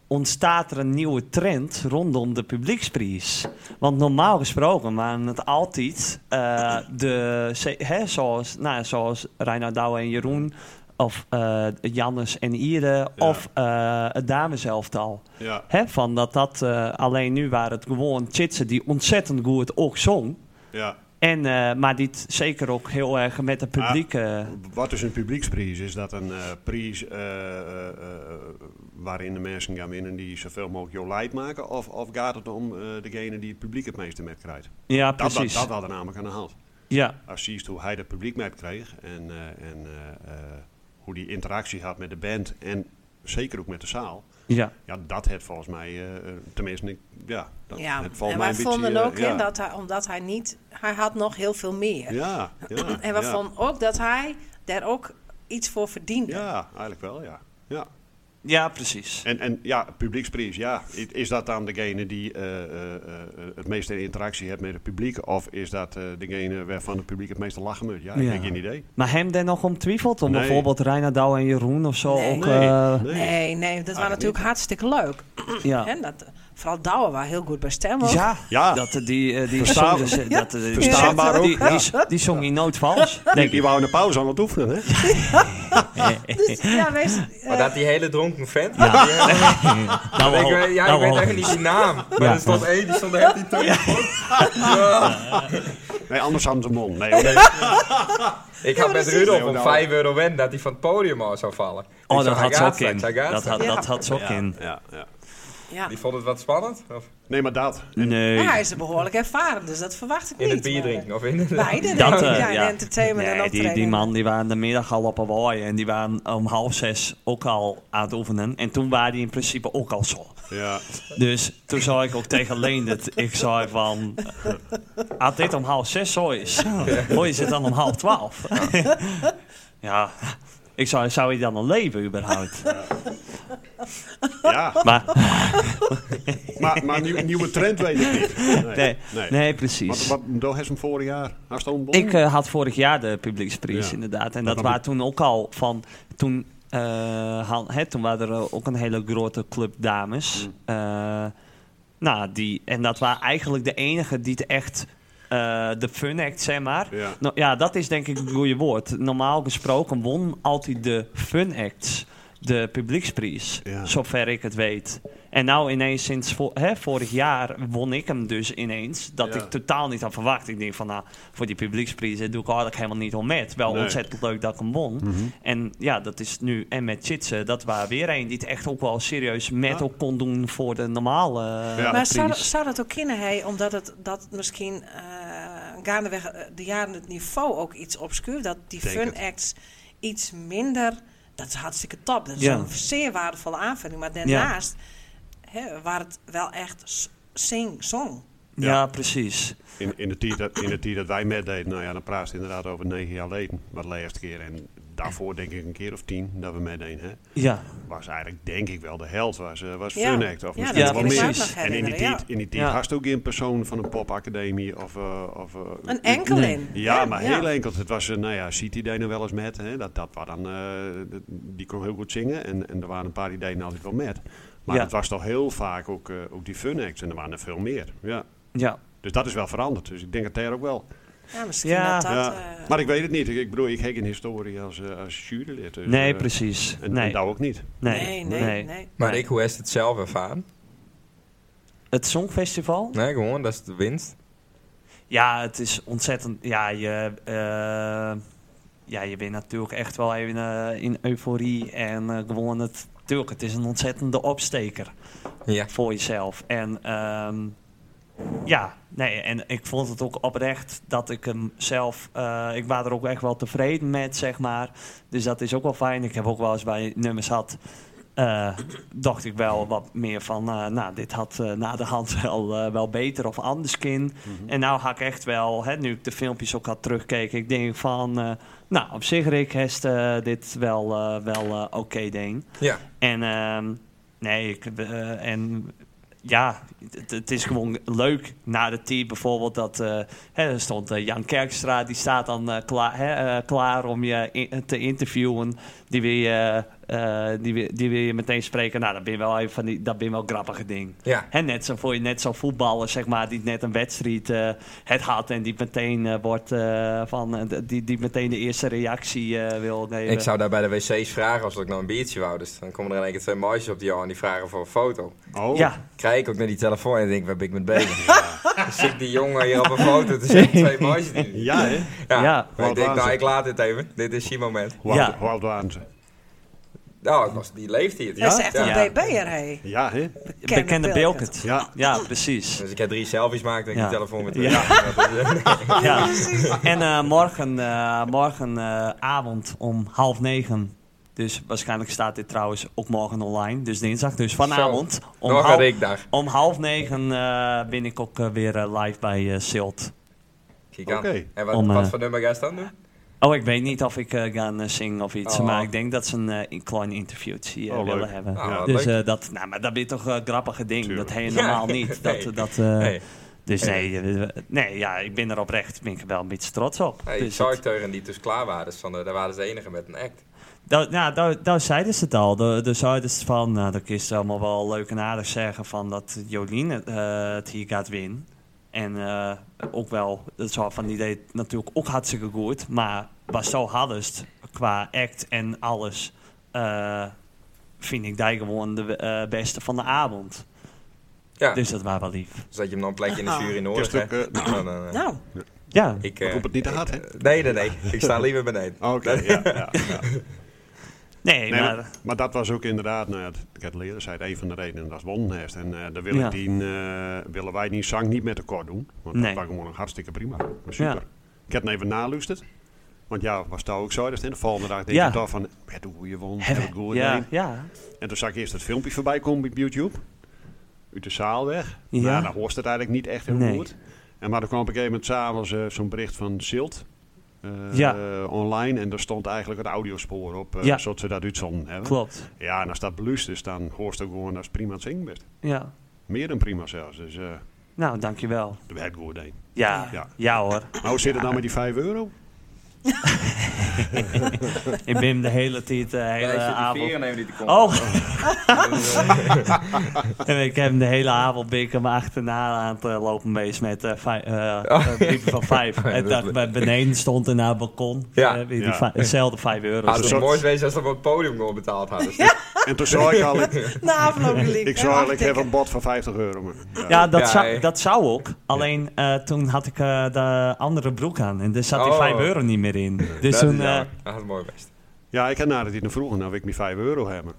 Ontstaat er een nieuwe trend rondom de publieksprijs? Want normaal gesproken waren het altijd eh, de, ze- hè, zoals, nou, zoals Reinoud Douwe en Jeroen, of eh Jannes en Ire, Ja. of eh het dameselftal. Ja. Hè, van dat dat, eh, alleen nu waren het gewoon chitsen die ontzettend goed ook zong. Ja. En, eh, maar die het zeker ook heel erg met het publiek... Ah. eh, Wat is een publieksprijs? Is dat een eh prijs eh, eh, eh, waarin de mensen gaan winnen die zoveel mogelijk jouw leid maken? Of, of gaat het om eh, degene die het publiek het meeste met krijgt? ja, Dat, dat, precies. dat hadden namelijk aan de hand. Ja, Als je ziet hoe hij het publiek met kreeg en, eh, en eh, eh, hoe die interactie had met de band en zeker ook met de zaal. ja. Ja, dat het volgens mij, eh, eh, tenminste, ik- ja, dat Ja, het valt en mij wij een vonden beetje, eh, ook, ja. hè, dat hij, omdat hij niet... Hij had nog heel veel meer. Ja, ja, en we ja. vonden ook dat hij daar ook iets voor verdiende. Ja, eigenlijk wel, ja. ja. ja precies. En, en ja, publieksprijs, ja. I- Is dat dan degene die eh, eh, eh, het meeste interactie heeft met het publiek? Of is dat eh, degene waarvan het publiek het meeste lachen moet? Ja, ik Ja. heb geen idee. Maar hem daar nog om twijfelt? Om Nee. bijvoorbeeld Reinadouw en Jeroen of zo Nee. ook... Nee, eh, Nee, nee, dat was Eigenlijk natuurlijk hartstikke leuk. Ja. En dat, vooral Douwe was heel goed bij stem ook. Ja, Ja. dat eh, die, eh, die Verstaan- zong, dus, eh, dat, eh, die- Verstaanbaar die, ook, ja. Die, die, die zong hij nooit vals, denk Die ik. wou in de pauze aan het oefenen, hè? Dus, ja, wees, eh, Maar dat die hele dronken vent. Ja. die, eh, Nou, ik weet, ja, ik weet eigenlijk niet die naam. Maar Ja. er stond één, die stond echt die telefoon. Nee, anders aan zijn mond. Nee, hoor, nee. Ik had met dat is- Rudolf Nee, om nou. 5 euro wen dat hij van het podium af zou vallen. Oh, dat Ik zei, had "Hij ze gaat ook straks, in. hij gaat Dat had, Ja. dat had ze ook in. Ja, ja. ja. Die vond het wat spannend? Of nee, maar dat. Nee. Maar hij is er behoorlijk ervaren, dus dat verwacht ik in niet. het bier maar, drinken? Of in de... eh, Beide Dat, denk ik, eh, ja, in ja. entertainment en Nee, die, optreden. die man die waren de middag al op Hawaii en die waren om half zes ook al aan het oefenen. En toen waren die in principe ook al zo. Ja, Dus toen zei ik ook tegen Leendert, ik zei van, eh, als dit om half zes zo is, hoe is het dan om half twaalf? Ja, ik zei, zou je dan nog leven überhaupt? ja. Maar maar, maar nieuw- nieuwe trend weet ik niet. Nee, nee, nee. nee Wat, precies. wat doe hij hem vorig jaar? Hij stond bom? Ik eh, had vorig jaar de publieksprijs Ja. inderdaad. En dat dan was moet- toen ook al van... Toen, eh, haal- hè, toen waren er eh, ook een hele grote club dames. Eh, nou, die, en dat waren eigenlijk de enige die het echt... eh, de fun act, zeg maar. Ja. Nou, ja, dat is denk ik een goede woord. Normaal gesproken won altijd de fun acts de publieksprijs. Ja. Zover ik het weet. En nou ineens sinds vo- hè, vorig jaar won ik hem dus ineens. Dat Ja. ik totaal niet had verwacht. Ik denk van nou, voor die publieksprijs eh, doe ik eigenlijk helemaal niet om met. Wel Nee. ontzettend leuk dat ik hem won. En ja, dat is nu. En met Chitsen, dat waren weer een die het echt ook wel serieus met Ja. ook kon doen voor de normale eh, Ja. Maar zou, prijs. zou dat ook kunnen, hè, omdat het dat misschien eh gaandeweg eh, de jaren het niveau ook iets obscuur, dat die Denk fun het. acts iets minder, dat is hartstikke top, dat is Ja. een zeer waardevolle aanvulling, maar daarnaast hè, waar het wel echt sing-song. ja. Ja. precies. In, in, de tijd dat, in de tijd dat wij meededen, nou ja, dan praat je inderdaad over negen jaar geleden. Wat de laatste keer. En daarvoor denk ik een keer of tien dat we meededen. Hè? Ja, Was eigenlijk denk ik wel de held, was, eh, was Ja. Fun Act. Of Ja, misschien dat wel kan ik me meer. ook nog En in die herinneren, tijd, in die tijd Ja. was het ook geen persoon van een popacademie. Of, eh, of, eh, Een enkel in. Ja, maar heel enkel. Het was, eh, nou ja, City deed er wel eens met. Hè? Dat, dat was dan, eh, dat- die kon heel goed zingen. En, en er waren een paar die deden altijd wel met. Maar Ja. het was toch heel vaak ook, eh, ook die Fun Acts. En er waren er veel meer. Ja. ja. Dus dat is wel veranderd. Dus ik denk het daar ook wel. Ja, misschien Ja. dat dat... ja. eh, maar ik weet het niet. Ik, ik bedoel, ik heb geen historie als, eh, als jurylid. Dus, Nee, eh, precies. En, en nee. dat ook niet. nee. nee, nee, nee. nee. Maar Nee. ik, hoe is het zelf ervaren? Het Songfestival? Nee, gewoon, dat is de winst. Ja, het is ontzettend. Ja, je, eh, ja, je bent natuurlijk echt wel even eh, in euforie en eh, gewoon het. Tuurlijk, het is een ontzettende opsteker Ja. voor jezelf. En ehm, ja, nee, en ik vond het ook oprecht dat ik hem zelf. eh, ik was er ook echt wel tevreden met, zeg maar. Dus dat is ook wel fijn. Ik heb ook wel eens bij nummers had. eh, dacht ik wel wat meer van, eh, nou, dit had eh, na de hand wel, eh, wel beter of anders kin. En nou ga ik echt wel, hè, nu ik de filmpjes ook had terugkeken, ik denk van, eh, nou, op zich Rick heeft eh, dit wel, eh, wel eh, oké ding. Ja. En ehm, nee, ik, eh, en ja, het, het is gewoon leuk. Na de tee bijvoorbeeld dat eh, hè, er stond eh, Jan Kerkstra, die staat dan eh, klaar, hè, eh, klaar om je in- te interviewen. Die wil je eh, die, wi- die wil je meteen spreken. Nou, dat ben je wel even van die, dat ben je wel grappige ding. Ja. Hè, net zo voor je net zo voetballer, zeg maar, die net een wedstrijd eh, het had en die meteen eh, wordt eh, van eh, die, die meteen de eerste reactie eh, wil nemen. Ik zou daar bij de wc's vragen als ik nou een biertje wou. Dus dan komen er in één keer twee meisjes op die jou en die vragen voor een foto. Oh, Ja, Krijg ik ook naar die telefoon en denk, waar ben ik met bezig? Dan zit die jongen hier op een foto te zetten, twee meisjes die... Ja, hè? Ja, Ja. Maar ik denk, Wat nou, ik laat dit even. Dit is je moment. Hoe Ja. oud- hoe oud waren ze? Nou, ik was, die leeft hier. Dat is echt een Ja. BB'er, hé. Ja, hè? bekende Bilkert. Ja. Ja, precies. Dus ik heb drie selfies gemaakt en ik Ja. die telefoon met Ja. Dat is, eh, Ja. En eh, morgen, eh, morgen eh, avond om half negen. Dus waarschijnlijk staat dit trouwens ook morgen online. Dus dinsdag. Dus vanavond om, nog een half, reekdag. om half negen eh, ben ik ook eh, weer eh, live bij eh Silt. Kijk aan. Oké. En wat, Om, eh, wat voor nummer ga je dan doen? Oh, ik weet niet of ik eh, ga eh, zingen of iets. Oh. Maar ik denk dat ze een, eh, een klein interviewtje eh, Oh, leuk. willen hebben. Nou, Ja. wat Dus leuk. eh, dat, nou, maar dat ben je toch een grappige ding. Tuurlijk. Dat helemaal Ja. niet. Dat, Nee. dat, eh, hey, Dus nee, eh, nee ja, ik ben er oprecht. Ben ik er wel een beetje trots op. hey, dus het- Sarkteuren die dus klaar waren, dus van, eh, daar waren ze de enige met een act. Dat, nou, daar, daar zeiden ze het al. Daar, daar zeiden ze van, nou, dat kun je allemaal wel leuk en aardig zeggen van dat Jolien het, eh, het hier gaat winnen. En eh, ook wel, dat soort van die deed natuurlijk ook hartstikke goed. Maar was zo hardest qua act en alles, eh, vind ik die gewoon de eh, beste van de avond. Ja, dus Dus dat was wel lief. dat je hem dan een plekje in de jury nodig Kerst ook, hebt. eh, Nou, Ja, Ik, Ik eh, hoop het niet te hard, hè? nee, nee, nee. Ik sta liever beneden. Oh, Oké, Eh, ja, ja, ja. nee, Nee, maar... maar, maar dat was ook inderdaad, nou ja, dat- ik had het eerder zei, het een van de redenen dat ze wonnen heeft. En eh daar wil Ja. ik die, eh, willen wij die zang niet met tekort doen. Want Nee. dat was gewoon hartstikke prima. Super. Ja. Ik heb het even naluisterd. Want ja, was daar ook zo. Dus de volgende dag denk Ja. ik toch van, met hoe goeie won, heb ik goed ja, gedaan." ja, En toen zag ik eerst het filmpje voorbij komen op YouTube. Uit de zaal weg. Ja. Ja. Nou, dan hoort het eigenlijk niet echt heel Nee. goed. En maar er kwam op een gegeven moment s'avonds eh, zo'n bericht van Silt. eh, Ja. eh, online en daar stond eigenlijk het audiospoor op, eh, Ja. zodat ze dat uitzonden hebben. klopt. Ja, en als dat belust is, dan hoort ook gewoon dat ze prima aan het zingen bent. Ja. Meer dan prima zelfs. Dus eh Nou, dankjewel. dat werkt goed heen. Ja, ja, Ja. ja hoor. Maar hoe zit het dan met die 5 euro? Ik ben hem de hele tijd, de hele avond. nemen die te komen. Oh! en ik heb hem de hele avond ben ik hem achterna aan het eh, lopen meest met eh vij- eh, eh, brieven van vijf. Oh. Ja, en dat dat is bij beneden stond er naar het balkon. Ja. eh, die Ja. vij- Hetzelfde vijf euro. Dus Ah, dat zou soort- mooi geweest als ze op het podium gewoon betaald hadden. Ja, En toen zou ik al, ik, na afloop liep. ik zou eigenlijk even een bod van 50 euro. Maar, ja. ja, dat, Ja, zou, hè. dat zou ook. Alleen eh, toen had ik eh, de andere broek aan. En daar zat die Oh. 5 euro niet meer in. Dus dat, toen. is eh, jammer. dat is mooi geweest. ja, ik had nadat hij nog vroeg, nou wil ik mijn 5 euro hebben.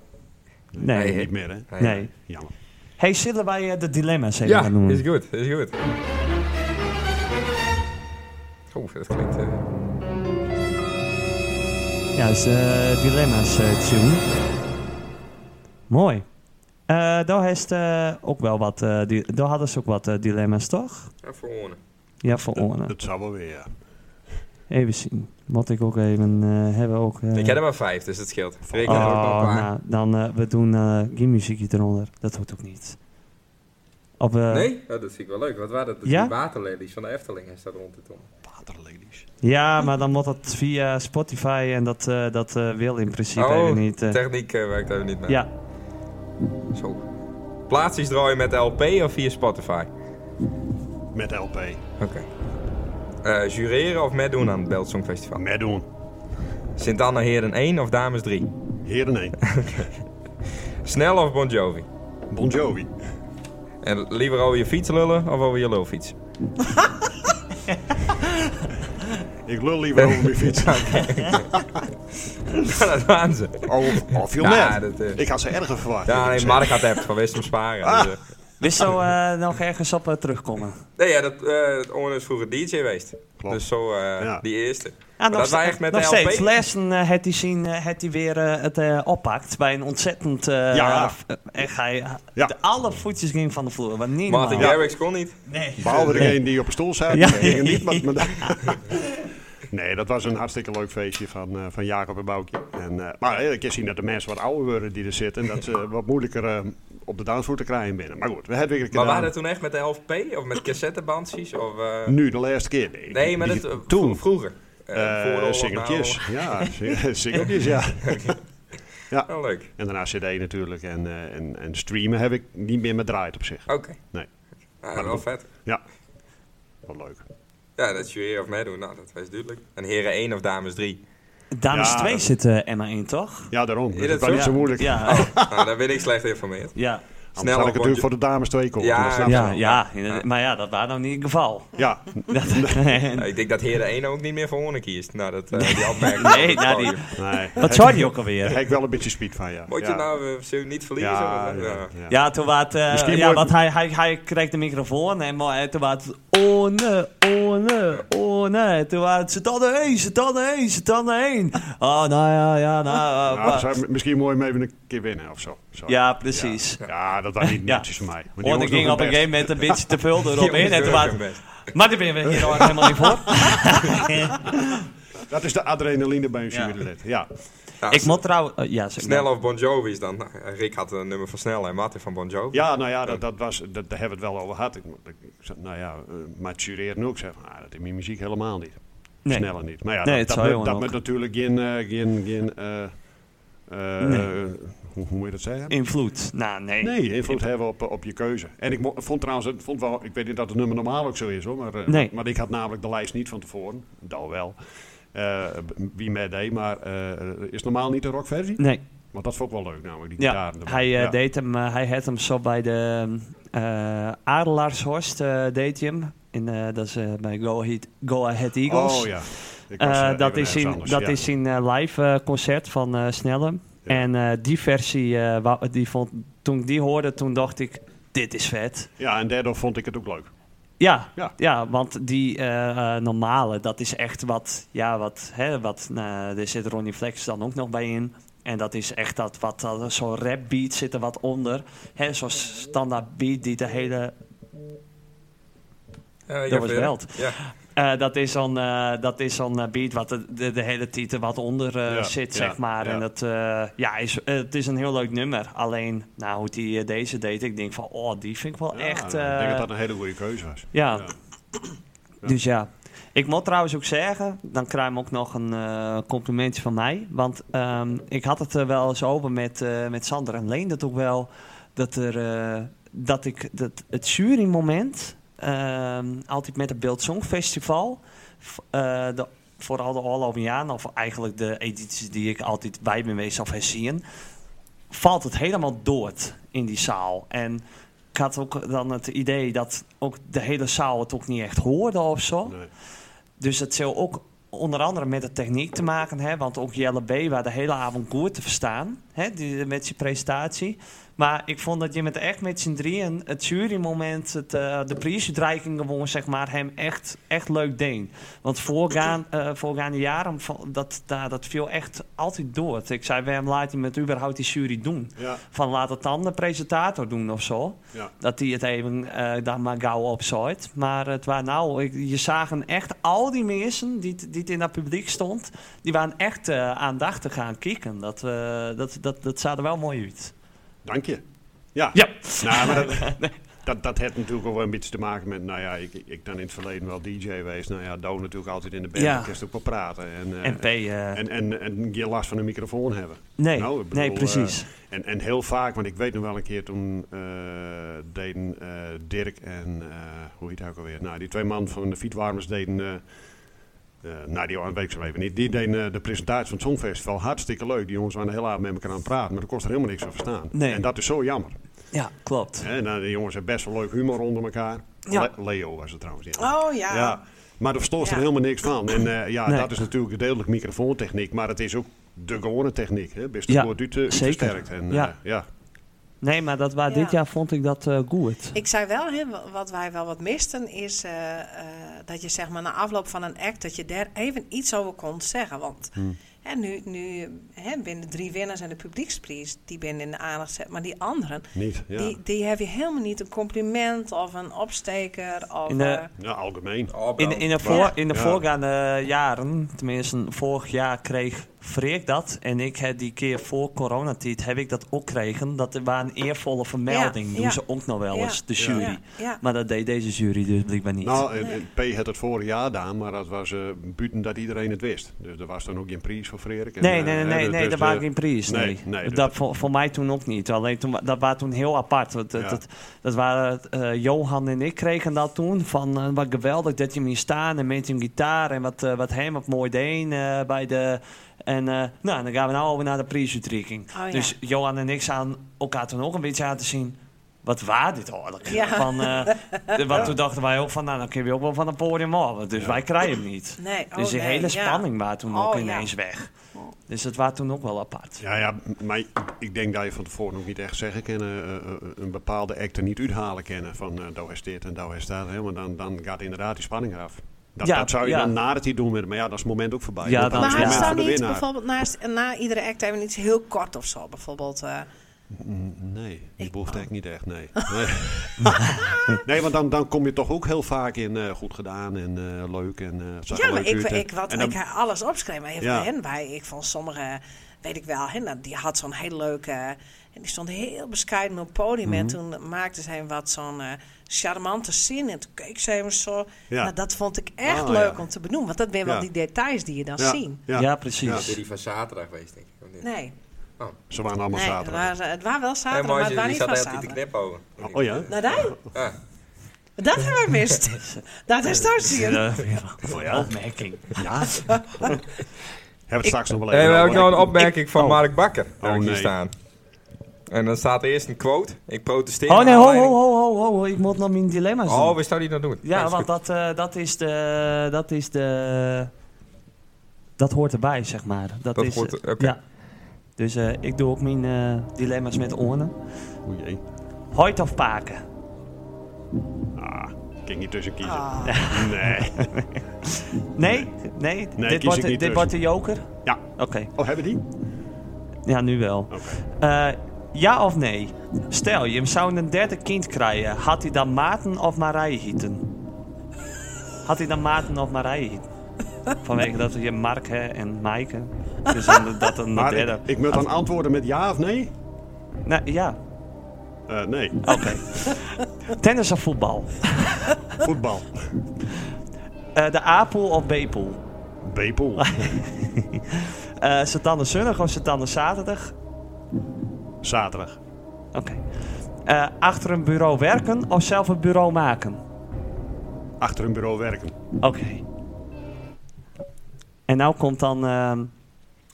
nee. Niet meer, hè? Nee. nee. Jammer. Hey, zullen wij eh, de dilemma's even Ja, gaan noemen? is goed, is goed. Oeh, dat klinkt... eh, Ja, is de dilemma's eh, tune. Mooi. Eh, daar heeft eh, ook wel wat. eh, di- daar hadden ze ook wat eh, dilemma's, toch? ja, voor horen. Ja, Eh, voor Dat, Orne. dat zou wel weer. eh, ja. Even zien. Wat ik ook even eh hebben ook. eh, Ik heb er maar vijf, dus dat scheelt. Ik heb er ook nog oh, een paar. nou, dan eh, we doen eh geen muziekje eronder. Dat hoort ook niet. Op, eh, Nee? Oh, dat zie ik wel leuk. Wat waren dat? dat Ja? Die waterlelies van de Efteling is dat rond de tong. Waterladies. Ja, maar dan moet dat via Spotify en dat, eh, dat eh, wil in principe Oh, even niet. eh. techniek eh, werkt even niet mee. ja, Zo. Plaatsjes draaien met LP of via Spotify? Met LP. Oké. Eh, jureren of meedoen aan het Belt Songfestival? Met doen. Sint-Anna Heerden 1 of Dames 3? Heren nee. Snel of Bon Jovi? Bon Jovi. En liever over je fiets lullen of over je lulfiets? Ik lul liever over mijn fiets. dat waren ze. Of, of je Ja, net. dat, eh. oh, Ik had ze erger verwacht. Ja, nee, Ik Mark had app van wist hem sparen. Dus, Ah. eh. wist zo eh, nog ergens op eh, terugkomen. nee, ja, dat eh Owen is vroeger DJ geweest. Klopt. Dus zo, eh, Ja. die eerste. Ja, Maar Ah, nog dat wij ste- echt met nog de LP. steeds. Lessen eh had hij zien, eh, had hij weer eh, het eh, oppakt bij een ontzettend. eh, Ja. f- En ga je, Ja. de, alle voetjes gingen van de vloer. Want niet Martin normaal. Garrix kon niet. Nee. eh, Behalve degene die op een stoel zat. Ja. die gingen niet, maar, maar nee, dat was een hartstikke leuk feestje van, eh, van Jacob en Boukje. En, eh, maar eh, ik kan zien dat de mensen wat ouder worden die er zitten. En dat ze wat moeilijker eh, op de dansvoer te krijgen binnen. Maar goed, we hebben weer een keer Maar waren dat toen echt met de LP? Of met cassettebandjes? Of, eh, Nu, de laatste keer. Nee, maar die- dat, eh, toen. vroeger. Eh, Eh, voor de oorlog, singeltjes. Ja, sing- singeltjes, ja. Ja. Wel Oh, leuk. En daarna CD natuurlijk. En, eh, en, en streamen heb ik niet meer met draait op zich. Oké. Nee. Nou, wel vet. Ja. Wat leuk. Ja, dat jury of meedoen, nou, dat is duidelijk. En heren 1 of dames 3. Dames Ja, 2 dat- zit eh, Emma in, toch? Ja, daarom. Ja, dat dat is wel zo. niet zo moeilijk. Ja. Ja, eh, nou, daar ben ik slecht informeerd. ja, Anders had ik Snel, natuurlijk voor de dames twee komen. Ja. Dat snap je ja, wel. ja, maar ja, dat was nou niet het geval. Ja. Ja, ik denk dat heren 1 ook niet meer voor honden kiest. Nou, dat, eh, die opmerking. Nee, nou, Oh, die, Nee. dat zou die ook Daar alweer. heb ik wel een beetje speed van, ja. Moet je ja. nou eh, zullen we niet verliezen? Ja, Of- ja, ja. Ja, toen was, eh Misschien ja, mooi- want hij, hij, hij kreeg de microfoon en maar, eh, toen was het oh nee, oh nee, oh nee. Toen was het ze tanden heen, ze tanden heen, ze tanden heen. Oh, nou ja, ja, nou. eh, Nou, maar- dat zou misschien mooi om even een keer winnen of zo. Zo. Ja, precies. Ja, Ja, dat was niet Ja. netjes voor mij. Want die Want ik jongens ging doen op een hun gegeven moment een beetje te veel erop jongens in. En toen doen was, hun best. maar daar ben we hier ook helemaal niet voor. best. Dat is de adrenaline bij een jurylid. Ja. Ja, Ik s- moet trouwens... eh, ja, zeg maar. Nou, Snel of Bon Jovi is dan. Nou, Rick had een nummer van Snel en Martin van Bon Jovi. ja, nou ja, dat, dat was, dat, daar hebben we het wel over gehad. Ik, ik, zei, nou ja, eh, maar het jureert ook. Zeg, ah, dat in mijn muziek helemaal niet. Nee. Sneller niet. Maar ja, Nee, het dat, zou dat, heel moet- dat moet ook. natuurlijk geen... eh, geen, geen eh, eh, Nee. hoe, hoe moet je dat zeggen? Invloed. Nou, nee. Nee, invloed hebben op, op je keuze. En ik mo- vond trouwens, het vond wel, ik weet niet dat het nummer normaal ook zo is hoor, maar, eh, Nee. maar ik had namelijk de lijst niet van tevoren, dat wel, Eh, b- wie meedeed, maar eh, is normaal niet de rockversie? Nee. Want dat vond ik wel leuk namelijk, die Ja, gitaar. hij eh, Ja. deed hem, eh, hij had hem zo bij de eh Adelaarshorst eh, deed hij hem. In, eh, dat is eh, bij Go Ahead, Go Ahead Eagles. Oh ja. Ik was, Eh, eh, dat even is ergens in, anders, dat ja. is in eh, live eh, concert van eh Snellem. Ja. En eh, die versie, eh, wou- die vond, toen ik die hoorde, toen dacht ik, dit is vet. Ja, en daardoor vond ik het ook leuk. Ja, ja. Ja. want die eh, eh, normale, dat is echt wat, ja, wat, hè, wat, nou, er zit Ronnie Flex dan ook nog bij in. En dat is echt dat, wat, dat zo'n rap beat zit er wat onder. Hè, zo'n standaard beat die de hele, Ja, dat was wel. Ja. eh, dat is zo'n, eh, dat is zo'n eh, beat wat de, de, de hele titel wat onder eh, Ja, zit, ja, zeg maar. ja. En dat, eh, ja, is, eh, het is een heel leuk nummer. Alleen, nou, hoe die eh, deze deed, ik denk van, oh, die vind ik wel Ja, echt... Ik denk eh, dat dat een hele goede keuze was. Ja. Ja. Dus ja. Ik moet trouwens ook zeggen, dan krijg ik ook nog een eh, complimentje van mij. Want ehm, ik had het er wel eens over met, eh, met Sander en Leen dat ook wel. Dat, er, eh, dat ik dat het jurymoment, ehm, altijd met het Beeld Songfestival, v- eh, de, vooral de All-Over of eigenlijk de edities die ik altijd bij ben geweest of herzien, valt het helemaal dood in die zaal. En ik had ook dan het idee dat ook de hele zaal het ook niet echt hoorde of zo. Nee. Dus dat zou ook onder andere met de techniek te maken hebben. Want ook Jelle B. waar de hele avond goed te verstaan hè, die, met zijn presentatie. Maar ik vond dat je met echt met z'n drieën het jurymoment, het, eh, de prijsuitreiking gewoon, zeg maar, hem echt, echt leuk deed. Want voorgaan, eh, voorgaande jaren, val- dat, daar dat viel echt altijd door. Ik zei, waarom laat hij met überhaupt die jury doen? Ja. Van laat het dan de presentator doen of zo. Ja. Dat hij het even eh, dan maar gauw opzooit. Maar het waren nou, ik- je zagen echt al die mensen die, t- die t in dat publiek stond, die waren echt eh, aandachtig gaan kijken. Dat, eh, dat, dat, dat zag er wel mooi uit. Dank je. Ja. Ja. Nou, maar dat, dat, dat heeft natuurlijk ook wel een beetje te maken met, nou ja, ik, ik- ik ben in het verleden wel DJ geweest. Nou ja, Doon natuurlijk altijd in de band. Ja. Ja. ook wel praten. En, eh, en P. eh, en, en, en geen last van een microfoon hebben. nee, Nou, ik nee, bedoel, precies. eh, en, en heel vaak, want ik weet nog wel een keer toen eh, deden eh, Dirk en eh, hoe heet hij ook alweer? Nou, die twee man van de fietwarmers deden. eh eh, nou, die weet ik zo even niet. Die deden eh, de presentatie van het Songfestival hartstikke leuk. Die jongens waren de hele avond met elkaar aan het praten, maar er kost er helemaal niks van verstaan. Nee. En dat is zo jammer. ja, klopt. Hè, nou, de jongens hebben best wel leuk humor onder elkaar. Ja. Le- Leo was het trouwens. die Oh ja. ja, maar daar verstoort er Ja. helemaal niks van. En eh, ja, Nee. dat is natuurlijk gedeeltelijk microfoontechniek, maar het is ook de gewone techniek. Hè? Best Ja, ja, wordt zeker. uit, versterkt. En, eh, Ja. ja. Nee, maar dat waar, Ja. dit jaar vond ik dat eh, goed. Ik zei wel, hè, wa- wat wij wel wat misten is eh, eh, dat je zeg maar na afloop van een act, dat je daar even iets over kon zeggen. Want Hmm. hè, nu, nu hè, binnen drie winnaars en de publieksprijs, die binnen in de aandacht zet, maar die anderen, niet. Ja. die, die heb je helemaal niet een compliment of een opsteker. Of, In de- eh, Ja, algemeen. Oh, In, dan. in de, voor, in de Ja. voorgaande jaren, tenminste vorig jaar, kreeg vreer ik dat. En ik heb die keer voor coronatijd heb ik dat ook kregen. Dat er waar een eervolle vermelding. Ja, doen ja. ze ook nog wel Ja, eens, de ja, jury. ja. Maar dat deed deze jury dus blijkbaar niet. Nou, en- en P had het vorig jaar gedaan, maar dat was eh buiten dat iedereen het wist. Dus er was dan ook geen prijs voor Frerik. en, Nee, eh, nee, nee, hè, nee, dus- nee dus, dat eh, waren geen prijs. Nee. Nee, nee, dus dat voor, voor mij toen ook niet. Alleen toen, wa- dat was toen heel apart. Dat, dat, Ja. dat, dat waren, eh, Johan en ik kregen dat toen. Van eh, wat geweldig dat je hem hier staan en met hem gitaar en wat, eh, wat hem op mooi deed eh, bij de. En eh, nou, dan gaan we nou over naar de prijsuitreiking. Oh, ja. Dus Johan en ik staan elkaar toen ook een beetje aan te zien. Wat waar dit eigenlijk? Ja. Van, eh, de- want toen dachten wij ook van, nou, dan kun je ook wel van een podium af. Dus wij krijgen hem niet. Nee, oh, dus die nee, hele ja. spanning was toen Oh, ook ja. ineens weg. Dus dat was toen ook wel apart. Ja, ja, maar ik denk dat je van tevoren ook niet echt zeggen kan, eh, eh, een bepaalde act er niet uithalen kennen van eh daar is dit en daar is dat. Hè, want dan, dan gaat inderdaad die spanning eraf. Dat, Ja, dat zou je ja. dan na het hier doen, met- maar ja, dat is het moment ook voorbij. Ja, Dat dan is Maar het is het hadden ze moment ja. dan voor de niet winnaar. bijvoorbeeld naast, na iedere act hebben we iets heel kort of zo? Bijvoorbeeld, eh, Nee, die behoeft echt niet echt, nee. Nee, nee want dan, dan kom je toch ook heel vaak in eh, goed gedaan en eh, leuk en eh, het zag ja, er maar leuk ik, uit en- ik, wat, en dan- ik heb alles opschreven. Maar Ja. van hen bij, ik vond sommige, weet ik wel, hè, nou, die had zo'n heel leuke. En die stond heel bescheiden op het podium. Mhm. En toen maakte ze hem wat zo'n eh, charmante zin. En toen keek ze hem zo. Ja. Nou, dat vond ik echt Ah, leuk ja. om te benoemen. Want dat zijn wel Ja. die details die je dan ziet. Ja, Dat precies. is die van zaterdag geweest, denk ik. of niet? Nee, Ze waren allemaal nee het, zaterdag. waren, het waren wel En zaterdag, maar Moisje, het waren die niet zat van de hele tijd te zaterdag. knipogen. Oh ja? Nou, daar, Ja. dat hebben we mist. dat is toch zien. Eh, ja. Opmerking. Ja. Hebben Oh, we het straks nog wel Hey, even we hebben ook over. nog nou een opmerking van oh. Mark Bakker. Oh, heb ik hier nee. staan. En dan staat er eerst een quote. Ik protesteer. Oh nee, naar ho, ho, aanleiding- ho, ho, ho. Ik moet nog mijn dilemma's doen. Oh, we staan die nou doen. ja, is want goed. dat, eh, dat is de... Dat is de... Dat hoort erbij, zeg maar. Dat, Dat is, hoort er- eh, oké. Ja. Dus eh, ik doe ook mijn eh, dilemma's met oren. O jee. Hoit of paken? Ah, ik kan niet tussen kiezen. Ah. Nee. Nee? Nee? dit kies wordt, ik de- niet dit tussen. wordt de joker? Ja. Oké. Oh, hebben die? Ja, nu wel. Eh, ja of nee? Stel, je zou een derde kind krijgen. Had hij dan Maarten of Marije hieten? Had hij dan Maarten of Marije hieten? Vanwege dat je Mark hè, en Maaike. Dus dan, dat een Maar derde... ik, ik moet dan antwoorden met ja of nee? Nou, ja, Eh, nee, oké. Tennis of voetbal? voetbal. Eh, de A-pool of B-pool? Bepel. Eh Satan de zondag of Satan de zaterdag? Zaterdag. Oké. Eh, achter een bureau werken of zelf een bureau maken? Achter een bureau werken. Oké. En nou komt dan ehm,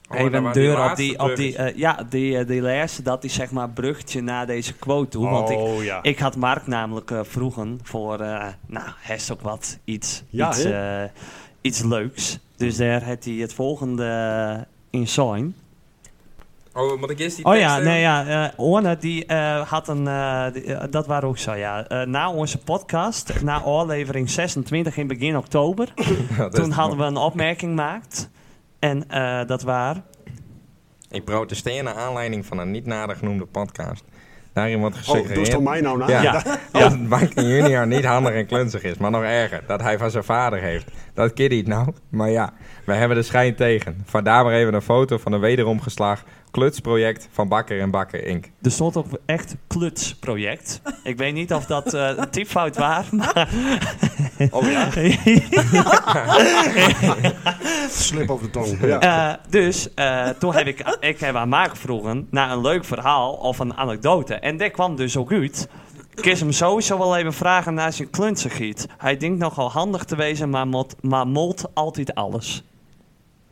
Oh, dat even een waren die deur op laatste die, op die bruggetjes. eh, ja, die, eh, die laatste, dat is zeg maar bruggetje naar deze quote toe. want Oh, ik, ja. ik had Mark namelijk eh, vroegen voor, eh, nou, heeft ook wat, iets, Ja, iets, eh, iets leuks. Dus daar had hij het volgende in zijn. Oh, moet ik eerst die Oh tekst ja, hebben? nee, ja. eh, Orne, die eh, had een. eh, die- eh, dat waren ook zo, ja. Eh, na onze podcast, na aflevering 26 in begin oktober. Ja, dat is- Toen hadden we een opmerking gemaakt. En eh, dat waar. Ik protesteer naar aanleiding van een niet nader genoemde podcast. Daarin wordt Oh, gesuggereerd... doe het mij nou na? Ja. Ja. Dat Banken Junior niet handig en klunzig is, maar nog erger, dat hij van zijn vader heeft. Dat kid niet nou, maar ja, wij hebben de schijn tegen. Vandaar maar even een foto van een wederom geslaagd klutsproject van Bakker en Bakker Inc. Er stond ook echt klutsproject. Ik weet niet of dat eh, een typfout was, maar... Oh ja? Slip over de tong. Ja. Eh, dus eh, toen heb ik, ik heb aan Maak vroegen naar een leuk verhaal of een anekdote. En dat kwam dus ook uit. Ik kies hem sowieso wel even vragen naar zijn klunsegiet. Hij denkt nogal handig te wezen, maar mot, maar molt altijd alles.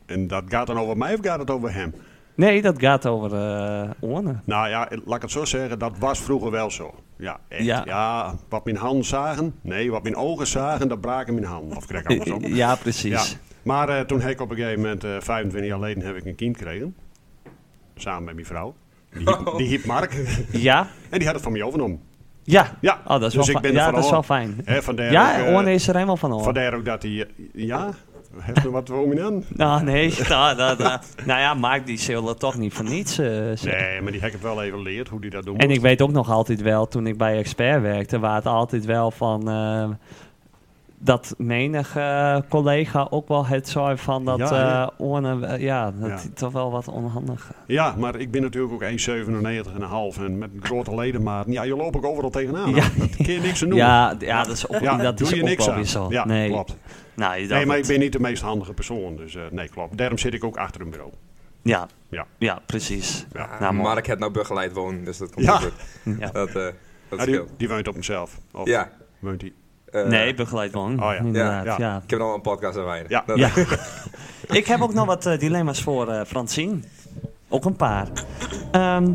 En dat gaat dan over mij of gaat het over hem? Nee, dat gaat over eh Orne. Nou ja, laat ik het zo zeggen, dat was vroeger wel zo. Ja, echt. Ja. Ja, wat mijn handen zagen, nee, wat mijn ogen zagen, dat braken mijn handen. Of krijg ik andersom. Ja, precies. Ja. Maar eh, toen heb ik op een gegeven moment, eh, 25 jaar geleden, heb ik een kind gekregen. Samen met mijn vrouw. Die hiep, die hiep Mark. Ja? En die had het van mij overnomen. Ja. Ja, Oh, dat is dus wel ik fijn. ben er Ja, van dat is wel over. fijn. Hè, vandaar Ja, ook, Orne eh, is er helemaal van over. Vandaar ook dat hij... eh, Ja? Heeft er wat voor me aan? Nou, nee. Nou, dat, eh, nou ja, Mark die zullen toch niet van niets eh, zeggen. Nee, maar die heb ik wel even geleerd hoe die dat doen En moest. ik weet ook nog altijd wel, toen ik bij Expert werkte, waar het altijd wel van... eh, dat menige eh, collega ook wel het zo van dat Ja, ja, hè? ja, dat Ja. is toch wel wat onhandig. Ja, maar ik ben natuurlijk ook 1,97,5 en met grote ledematen. Ja, je loopt ook overal tegenaan. Ja. Ja. Daar kun je niks aan doen. Ja, d- ja, dat is ook, Ja, dat doe is je ook niks wel aan. weer zo. Ja, nee. klopt. Nou, je Nee, dacht maar ik het. ben niet de meest handige persoon, dus eh, nee, klopt. Daarom zit ik ook achter een bureau. Ja, Ja. ja precies. Ja. Nou, mooi. Mark had nou begeleid wonen, dus dat komt Ja. ook goed. Ja. Dat, eh, dat Ah, die, scheelt. die woont op mezelf. Of Ja. woont die? Eh, nee, begeleid wonen. Oh, ja. Ja, inderdaad, ja. ja. Ik heb nog wel een podcast aan weinig. Ja. Dat- Ja. ik heb ook nog wat eh, dilemma's voor eh, Francine. Ook een paar. Ehm,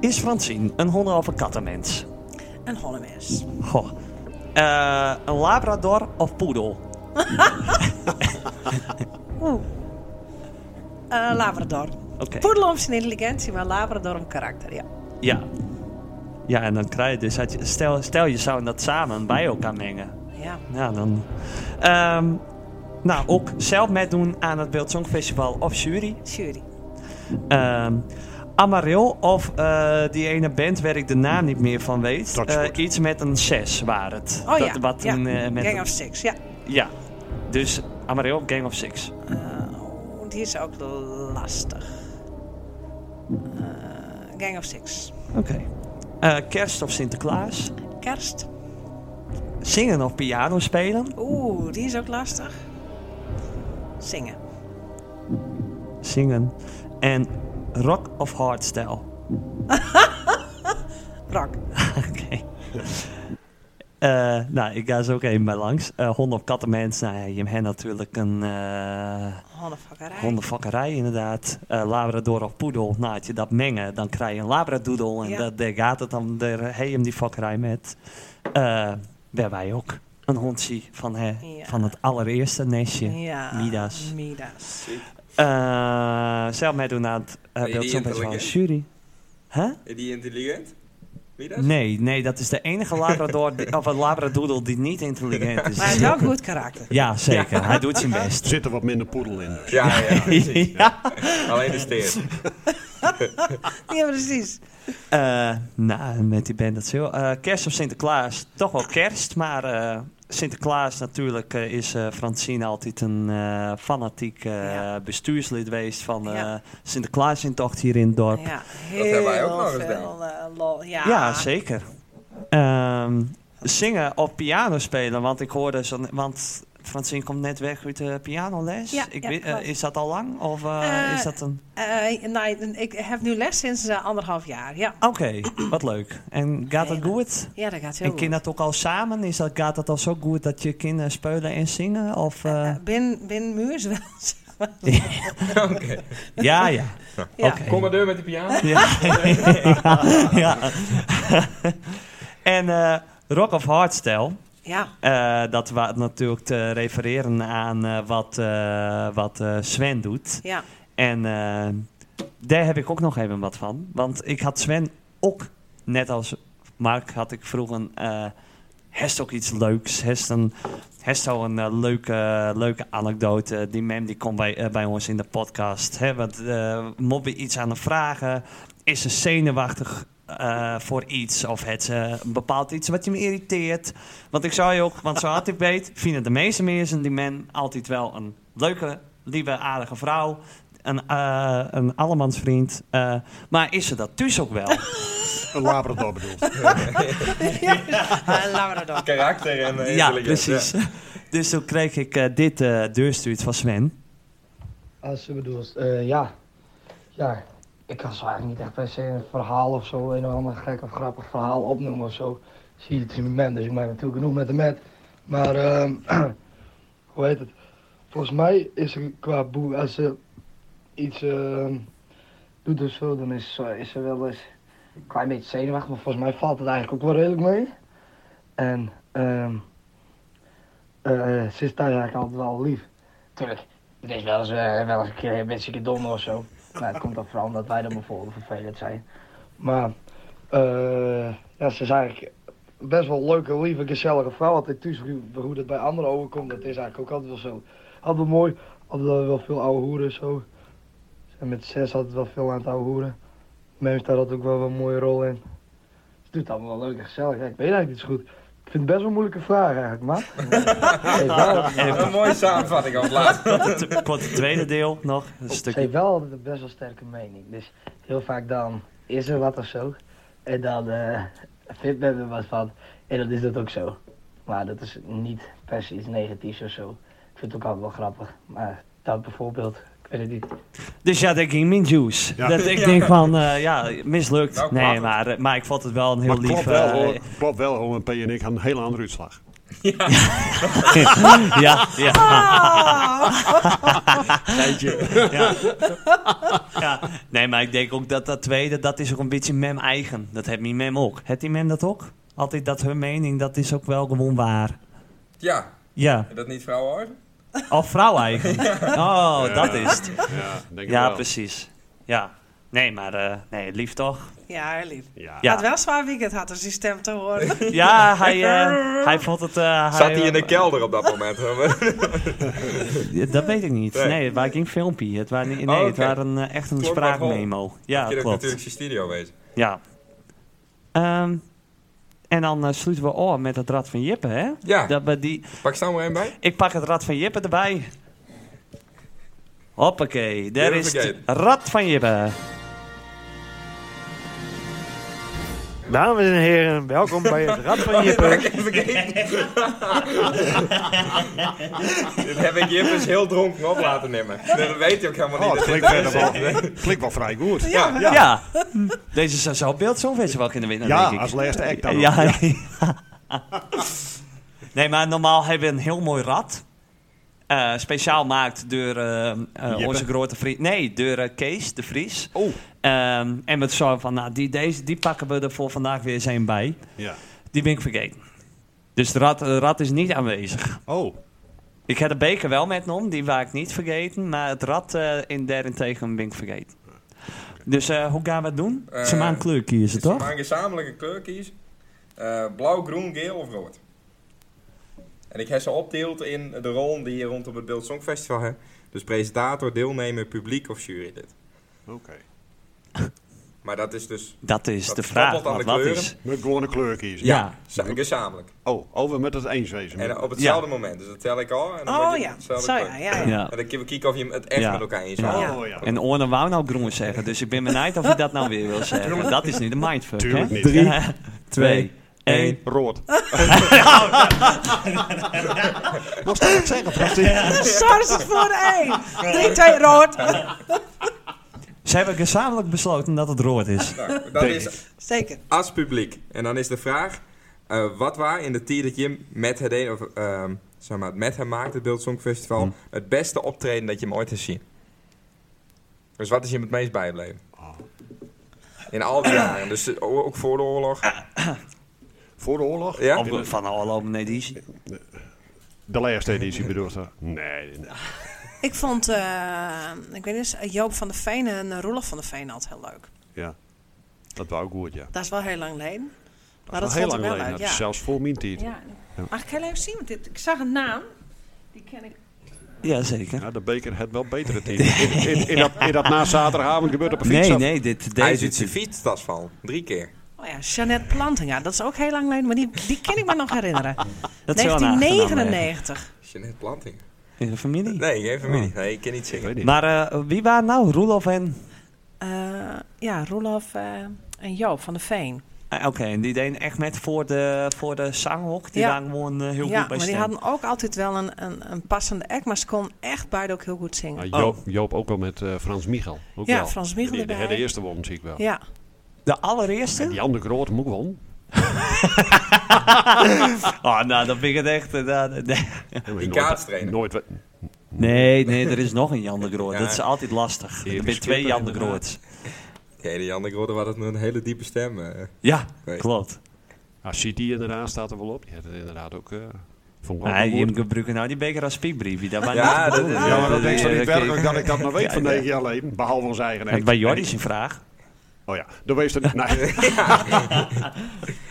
is Francine een honden- of een kattenmens? Een Hollemens. Goh. Eh, een labrador of poedel? Eh, Labrador. Oké. Poedel om zijn intelligentie, maar Labrador om karakter, ja. Ja. Ja, en dan krijg je dus... dat je- Stel, stel je zou dat samen bij elkaar mengen. Ja, Ja, dan. Ehm, nou, ook zelf meedoen aan het Beeld Songfestival of jury. jury. Ehm Amaril of eh, die ene band waar ik de naam niet meer van weet. Toxport. Eh, iets met een 6 waren het. Oh ja, wat ja. een, eh, met Gang een- of Six, ja. Ja, dus Amaril, Gang of Six. Oh, Die is ook lastig. Eh, Gang of Six. Oké. Eh, kerst of Sinterklaas. Kerst. Zingen of piano spelen. Oeh, die is ook lastig. Zingen. Zingen. En rock of hardstyle. Rock. Oké. Eh, nou, ik ga zo ook even bij langs. Eh, honden of kattenmens, nou ja, je hebt natuurlijk een eh Hondenfakkerij. hondenfakkerij inderdaad. Eh, labrador of poedel, nou, als je dat mengen, dan krijg je een labradoedel. En Ja. dat, daar gaat het dan, daar heb je hem die fakkerij met. Eh waar wij ook een hond zien van, hè, Ja. van het allereerste nestje, Ja. Midas. Midas. Eh, zelf mij doen aan het eh, Ben je beeld die zo'n best wel een intelligent? jury. Huh? Is die intelligent? Wie dat? Nee, nee, dat is de enige labrador die, of een labradoodle die niet intelligent Maar hij is. is wel goed karakter. Ja, zeker. Hij doet zijn best. Er zit er wat minder poedel in. Dus. Ja, ja, precies. ja. Alleen de steer. Ja, precies. Eh, nou, met die band dat is heel... eh, kerst of Sinterklaas? Toch wel kerst, maar eh, Sinterklaas natuurlijk eh, is eh, Francine altijd een eh, fanatiek eh, Ja. bestuurslid geweest van eh Ja. Sinterklaas in tocht hier in het dorp. Ja, heel hebben wij ook nog eens veel eh, lol. Ja, Ja, zeker. Ehm, zingen of piano spelen, want ik hoorde zo, want Francine komt net weg uit de pianoles. Ja, ik ja, weet, eh, klopt. is dat al lang of eh, Eh, is dat een? Eh, nee, ik heb nu les sinds eh, anderhalf jaar. Ja, Oké, wat leuk. En gaat dat Heel goed? ja dat gaat heel En goed. kind dat ook al samen? Is dat gaat dat al zo goed dat je kinderen spelen en zingen? Of eh, Eh, bin, bin muurs wel. zeg maar. ja, ja. Ja. Oké. Kom maar deur met die piano. Ja. ja. en eh, rock of hardstyle. ja, Eh, dat we natuurlijk te refereren aan eh, wat, eh, wat eh, Sven doet. ja. En eh, daar heb ik ook nog even wat van. Want ik had Sven ook, net als Mark, had ik vroeger... eh Hest ook iets leuks. Hest een, hest al een eh, leuke, leuke anekdote. Die mem die komt bij, eh, bij ons in de podcast. Hè, want eh mobben iets aan de vragen. Is ze zenuwachtig eh, voor iets? Of het ze een bepaald iets wat je me irriteert? Want ik zou je ook, want zo had ik weet, vinden de meeste mensen die men altijd wel een leuke, lieve, aardige vrouw. Een, eh een allemansvriend. eh, maar is ze dat dus ook wel? Een labrador bedoeld. Eh, Labrador. Karakter en eh, Ja, intelligent, precies. Dus toen kreeg ik eh, dit eh deurstuurt van Sven. Als je bedoelt, eh, ja. Ja, ik kan zo eigenlijk niet echt per se een verhaal of zo, een of ander gek of grappig verhaal opnoemen of zo. Zie je het in mijn dus ik maak natuurlijk genoeg met de met. Maar, ehm, hoe heet het? Volgens mij is er qua boe, als ze iets ehm, doet of zo, dan is, ze- is ze wel eens een klein beetje zenuwachtig, maar volgens mij valt het eigenlijk ook wel redelijk mee. En, ehm, eh, ze is thuis eigenlijk altijd wel lief. Tuurlijk. Het is wel eens, eh, wel eens een keer een beetje dom of zo. Maar het komt dan vooral omdat wij dan bijvoorbeeld vervelend zijn. Maar eh, ja, ze is eigenlijk best wel een leuke, lieve, gezellige vrouw. Altijd thuis, hoe- hoe dat bij anderen overkomt, dat is eigenlijk ook altijd wel zo. Altijd wel mooi, altijd wel wel veel oude hoeren en zo. Ze zijn met zes altijd wel veel aan het oude hoeren. Mem staat ook wel een mooie rol in. Ze doet het allemaal wel leuk en gezellig. Ja, ik weet eigenlijk niet zo goed. Ik vind het best wel een moeilijke vraag eigenlijk, maar. Een mooie samenvatting op laatst. Komt het tweede deel nog. Een Ze heeft stukje. wel altijd een best wel sterke mening. Dus heel vaak dan is er wat of zo. En dan eh vindt men er wat van. En dan is dat ook zo. Maar dat is niet per se iets negatiefs of zo. Ik vind het ook altijd wel grappig. Maar dat bijvoorbeeld, ik weet het niet. Dus ja, denk ik, min juice. Ja. Dat ik denk van, eh, ja, mislukt. Nou, nee, klopt. maar, eh, maar ik vond het wel een heel Maar lief... klopt wel, eh, hoor. klopt wel, OMP en ik hadden een hele andere uitslag. ja, ja, Ah! ja. ja. Nee, maar ik denk ook dat dat tweede, dat is ook een beetje mem eigen. Dat heeft mijn mem ook. Heeft die mem dat ook? Altijd dat hun mening, dat is ook wel gewoon waar. Ja, Ja, dat niet vrouwen hoor? of vrouw eigen. Oh, dat is het. Ja, denk ik Ja, wel. precies. Ja. Nee, maar eh, nee, lief toch? Ja, lief. Ja. Ja. Had wel een zwaar weekend had als die stem te horen. Ja, hij, eh, hij vond het... eh, Zat hij in de eh, kelder op dat moment? Ja, Dat weet ik niet. Nee. Nee, het waren geen filmpje. Het waren, niet- nee, Oh, oké. het waren eh, echt een Klonk maar gewoon. spraakmemo. Ja, Je klopt. natuurlijk je studio wezen. Ja. Ehm, en dan eh, sluiten we af met het rad van Jippe, hè? Ja. Dat we die, Pak snel maar één bij. ik pak het rad van Jippe erbij. Hoppakee, daar is het Jippekeet. rad van Jippe. Dames en heren, welkom bij het Rad van Jippe. Dit heb ik Jippers heel dronken op laten nemen. Dat weet je ook helemaal Oh, niet. dat het dit klinkt verder erin wel, zit. klinkt wel vrij goed. Ja, Ja. Hm. Deze zou zo beeld zo'n wel kunnen winnen, Ja, denk ik. als laatste act dan. Ja. nee, maar normaal hebben we een heel mooi rad. Eh, speciaal maakt door eh, eh, onze grote vriend... Nee, door eh, Kees de Vries. Oh. Ehm, en met zo van, nou, die, deze, die pakken we er voor vandaag weer eens een bij. Ja. Die ben ik vergeten. Dus de rad, de rad is niet aanwezig. Oh, Ik heb de beker wel met nom, die waar ik niet vergeten. Maar het rad eh in daarentegen ben ik vergeten. Dus eh, hoe gaan we het doen? Eh, Ze maken kleur kiezen, Dus we toch? gaan gezamenlijke kleur kiezen. Eh, blauw, groen, geel of rood. En ik heb ze opdeeld in de rol die je rondom het Beeld Songfestival hebt. Dus presentator, deelnemer, publiek of jurylid. oké. Maar dat is dus Dat is Dat de vraag. koppelt aan want de wat kleuren. is? Met gewoon een kleur kiezen. Ja. za- gezamenlijk. Oh, over met het eens wezen. En op hetzelfde moment. Dus dat tel ik al. En dan Oh word je ja, zo hetzelfde kleur. ja, ja, ja. ja. En dan kunnen we kijken of je het echt Ja. met elkaar eens Ja. bent. Oh ja. En Orne wou nou groen zeggen, dus ik ben benieuwd of je dat nou weer wil zeggen. Dat is nu de mindfuck, Tuurlijk hè? niet. Drie, twee, één. Rood. Moest dat ik zeggen? Frans? Sorry, het voor één. Drie, twee, rood. Ze hebben gezamenlijk besloten dat het rood is. Nou, dat Denk is Zeker. als publiek. En dan is de vraag, eh, wat waar in de tijd dat je met het een, of, ehm, zeg maar, met hem maakt, het Beeld Songfestival, het beste optreden dat je hem ooit hebt zien? Dus wat is je hem het meest bijgebleven? In al die jaren, dus eh, o- ook voor de oorlog. Voor de oorlog? Ja? Of we van de oorlopende editie. De laatste editie bedoelt dat? Nee, nee, nee. Ik vond, eh, ik weet niet, eens, Joop van der Veen en eh, Roelof van der Veen altijd heel leuk. Ja. Dat was ook goed, ja. Dat is wel heel lang geleden. Maar Maar dat dat is heel vond lang ik wel geleden. leuk, Dat is ja. zelfs voor mijn tijd. Ja. ja. Mag ik heel even zien? Want dit, ik zag een naam. Die ken ik. Jazeker. de beker had wel betere team. In, in, in dat, in dat na zaterdagavond gebeurt op een fiets. Nee, af. nee, dit, Hij deze ziet zijn fietstas vallen, drie keer. Oh ja, Jeannette Plantinga. Dat is ook heel lang geleden, maar die, die kan ik me nog herinneren. Dat is wel een achternaam, hè? 1999. Jeanette Planting. In de familie. Nee, geen familie. Nee, ik ken niet zingen. niet. Maar eh, wie waren nou? Roelof en... Eh, ja, Roelof eh, en Joop van der Veen. Ah, Oké, en die deden echt met voor de, voor de zanghok. Die Ja. waren gewoon eh, heel Ja, goed bij maar stem. die hadden ook altijd wel een, een, een passende act, maar ze kon echt beide ook heel goed zingen. Ah, Maar Joop, Joop ook al met eh, Frans Michel. Ook Oh. Ja, wel. Frans Michel Die- die erbij. had De eerste won, zie ik wel. Ja, De allereerste? Die andere grote moet won. Oh, nou, dat vind ik het echt... eh, nou, nee. Die kaartstrainer. Nooit, we- Nee, nee, er is nog een Jan de Groot. Ja. Dat is altijd lastig. Er zijn Erik twee Jan de Schutter, Groots. Nee, die Jan de Grodde had het met een hele diepe stem. eh. Ja, Nee. klopt. Ah, City inderdaad staat er wel op. Die had het inderdaad ook... eh vond ik ook Nee, wel je goed. gebruikt nou die beker als speakbriefje. Dat waren Ja, niet dat- bedoeld. Ja, maar dat Eh, denk ik niet eh, werkelijk kijk, dat ik dat nog weet van negen jaar geleden. Behalve onze eigen want act. Bij Jordi is een vraag. Oh ja, dan wees er... Nee.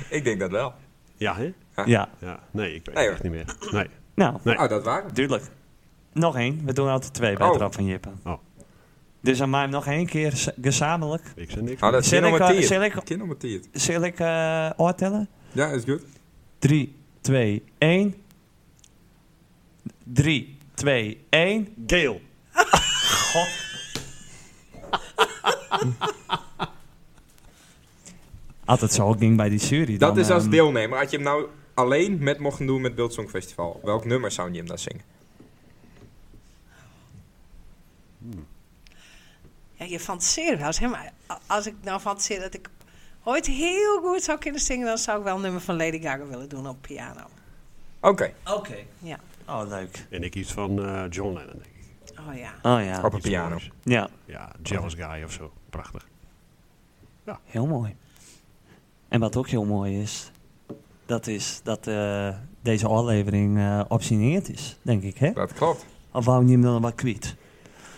Ik denk dat wel. Ja, hè? Ja, Ja. Nee, ik weet Nee, het echt niet meer. Nee. nou, Nee. Oh, dat waren. duidelijk. Nog één. We doen altijd twee bij Oh. het rap van Jippen. Oh. Dus dan maak hem nog één keer z- gezamenlijk. Ik zeg niks. Oh, dat is Zal ik, eh, zal kindermatiert. ik- Kindermatiert. Zal ik eh oortellen? Ja, is goed. Drie, 2, 1. 3, 2, 1. Geel. Had het zo ook ding bij die jury. Dat dan, is als ehm, deelnemer. Had je hem nou alleen met mocht doen met Beeldsong Festival, welk nummer zou je hem dan zingen? Ja, je fantaseert wel eens, hè? Maar a- als ik nou fantaseer dat ik ooit heel goed zou kunnen zingen... dan zou ik wel een nummer van Lady Gaga willen doen op piano. Oké, Oké. Ja. Oh, leuk. En ik iets van eh, John Lennon, denk ik. Oh ja. Oh ja. op een Iets piano. moois. Ja, Ja, Jealous Guy of zo. Prachtig. heel mooi. En wat ook heel mooi is, dat is dat eh, deze aflevering eh optioneerd is, denk ik, hè? Dat klopt. Of wou je hem dan wat kwijt?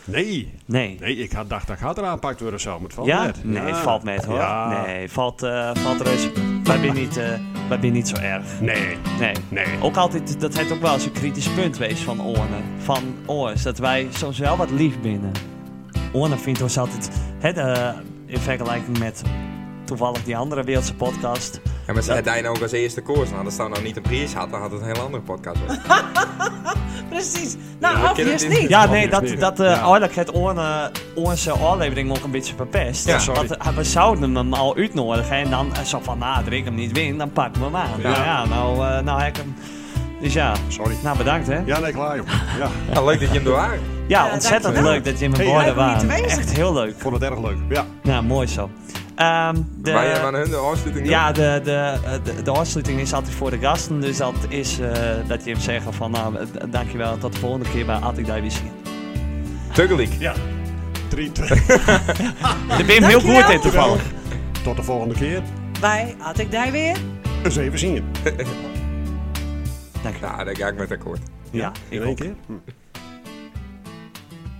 Nee, Nee. nee ik had, dacht dat gaat er aanpakt worden zo, maar het valt Ja? net. Nee, het valt met hoor. Ja. Nee, valt, eh valt reuze. Wij zijn niet, eh, wij zijn niet zo erg. Nee, Nee. nee. Ook altijd, dat heeft ook wel eens een kritisch punt wees van Orne. Van Oors, dat wij soms wel wat lief binnen. Orne vindt ons altijd, hè, de- in vergelijking met toevallig die andere wereldse podcast. En we zetten hij nou ook als eerste koers. Nou, als dat nou niet een prijs had, dan had het een heel andere podcast. geweest. Precies. Nou, we kennen obvious dit. niet. Ja, Dat nee, is dat, niet. dat eh Ja. eigenlijk het Orne, onze aflevering nog een beetje verpest. Ja, Want, eh, we zouden hem al uitnodigen en dan eh, zo van, nou, als ik hem niet win, dan pak ik hem aan. Nou ja, nou, eh, nou heb ik hem. Dus ja, Sorry. nou bedankt hè. Ja, nee, klaar joh. Ja, Nou, leuk dat je hem door haar. Ja, Ja, ontzettend dankjewel. leuk dat je in mijn Hey, woorden leuk om hier te waren. wezen. Echt heel leuk. ik vond het erg leuk. Ja. Nou, mooi zo. Ehm, de, Waar je aan hun de afsluiting ja, de, de, eh, de, de afsluiting is altijd voor de gasten. Dus dat is eh, dat je hem zeggen van nou, eh, d- dankjewel en tot de volgende keer bij Attic Divisie. Tuggeliek. Ja. Drie, twee. Daar ben je heel Dankjewel. goed in toevallig. Tot de volgende keer. Wij had ik daar weer. Eens even zingen. Dankjewel. Nou, daar ga ik met akkoord. Ja, In ik één ook. keer.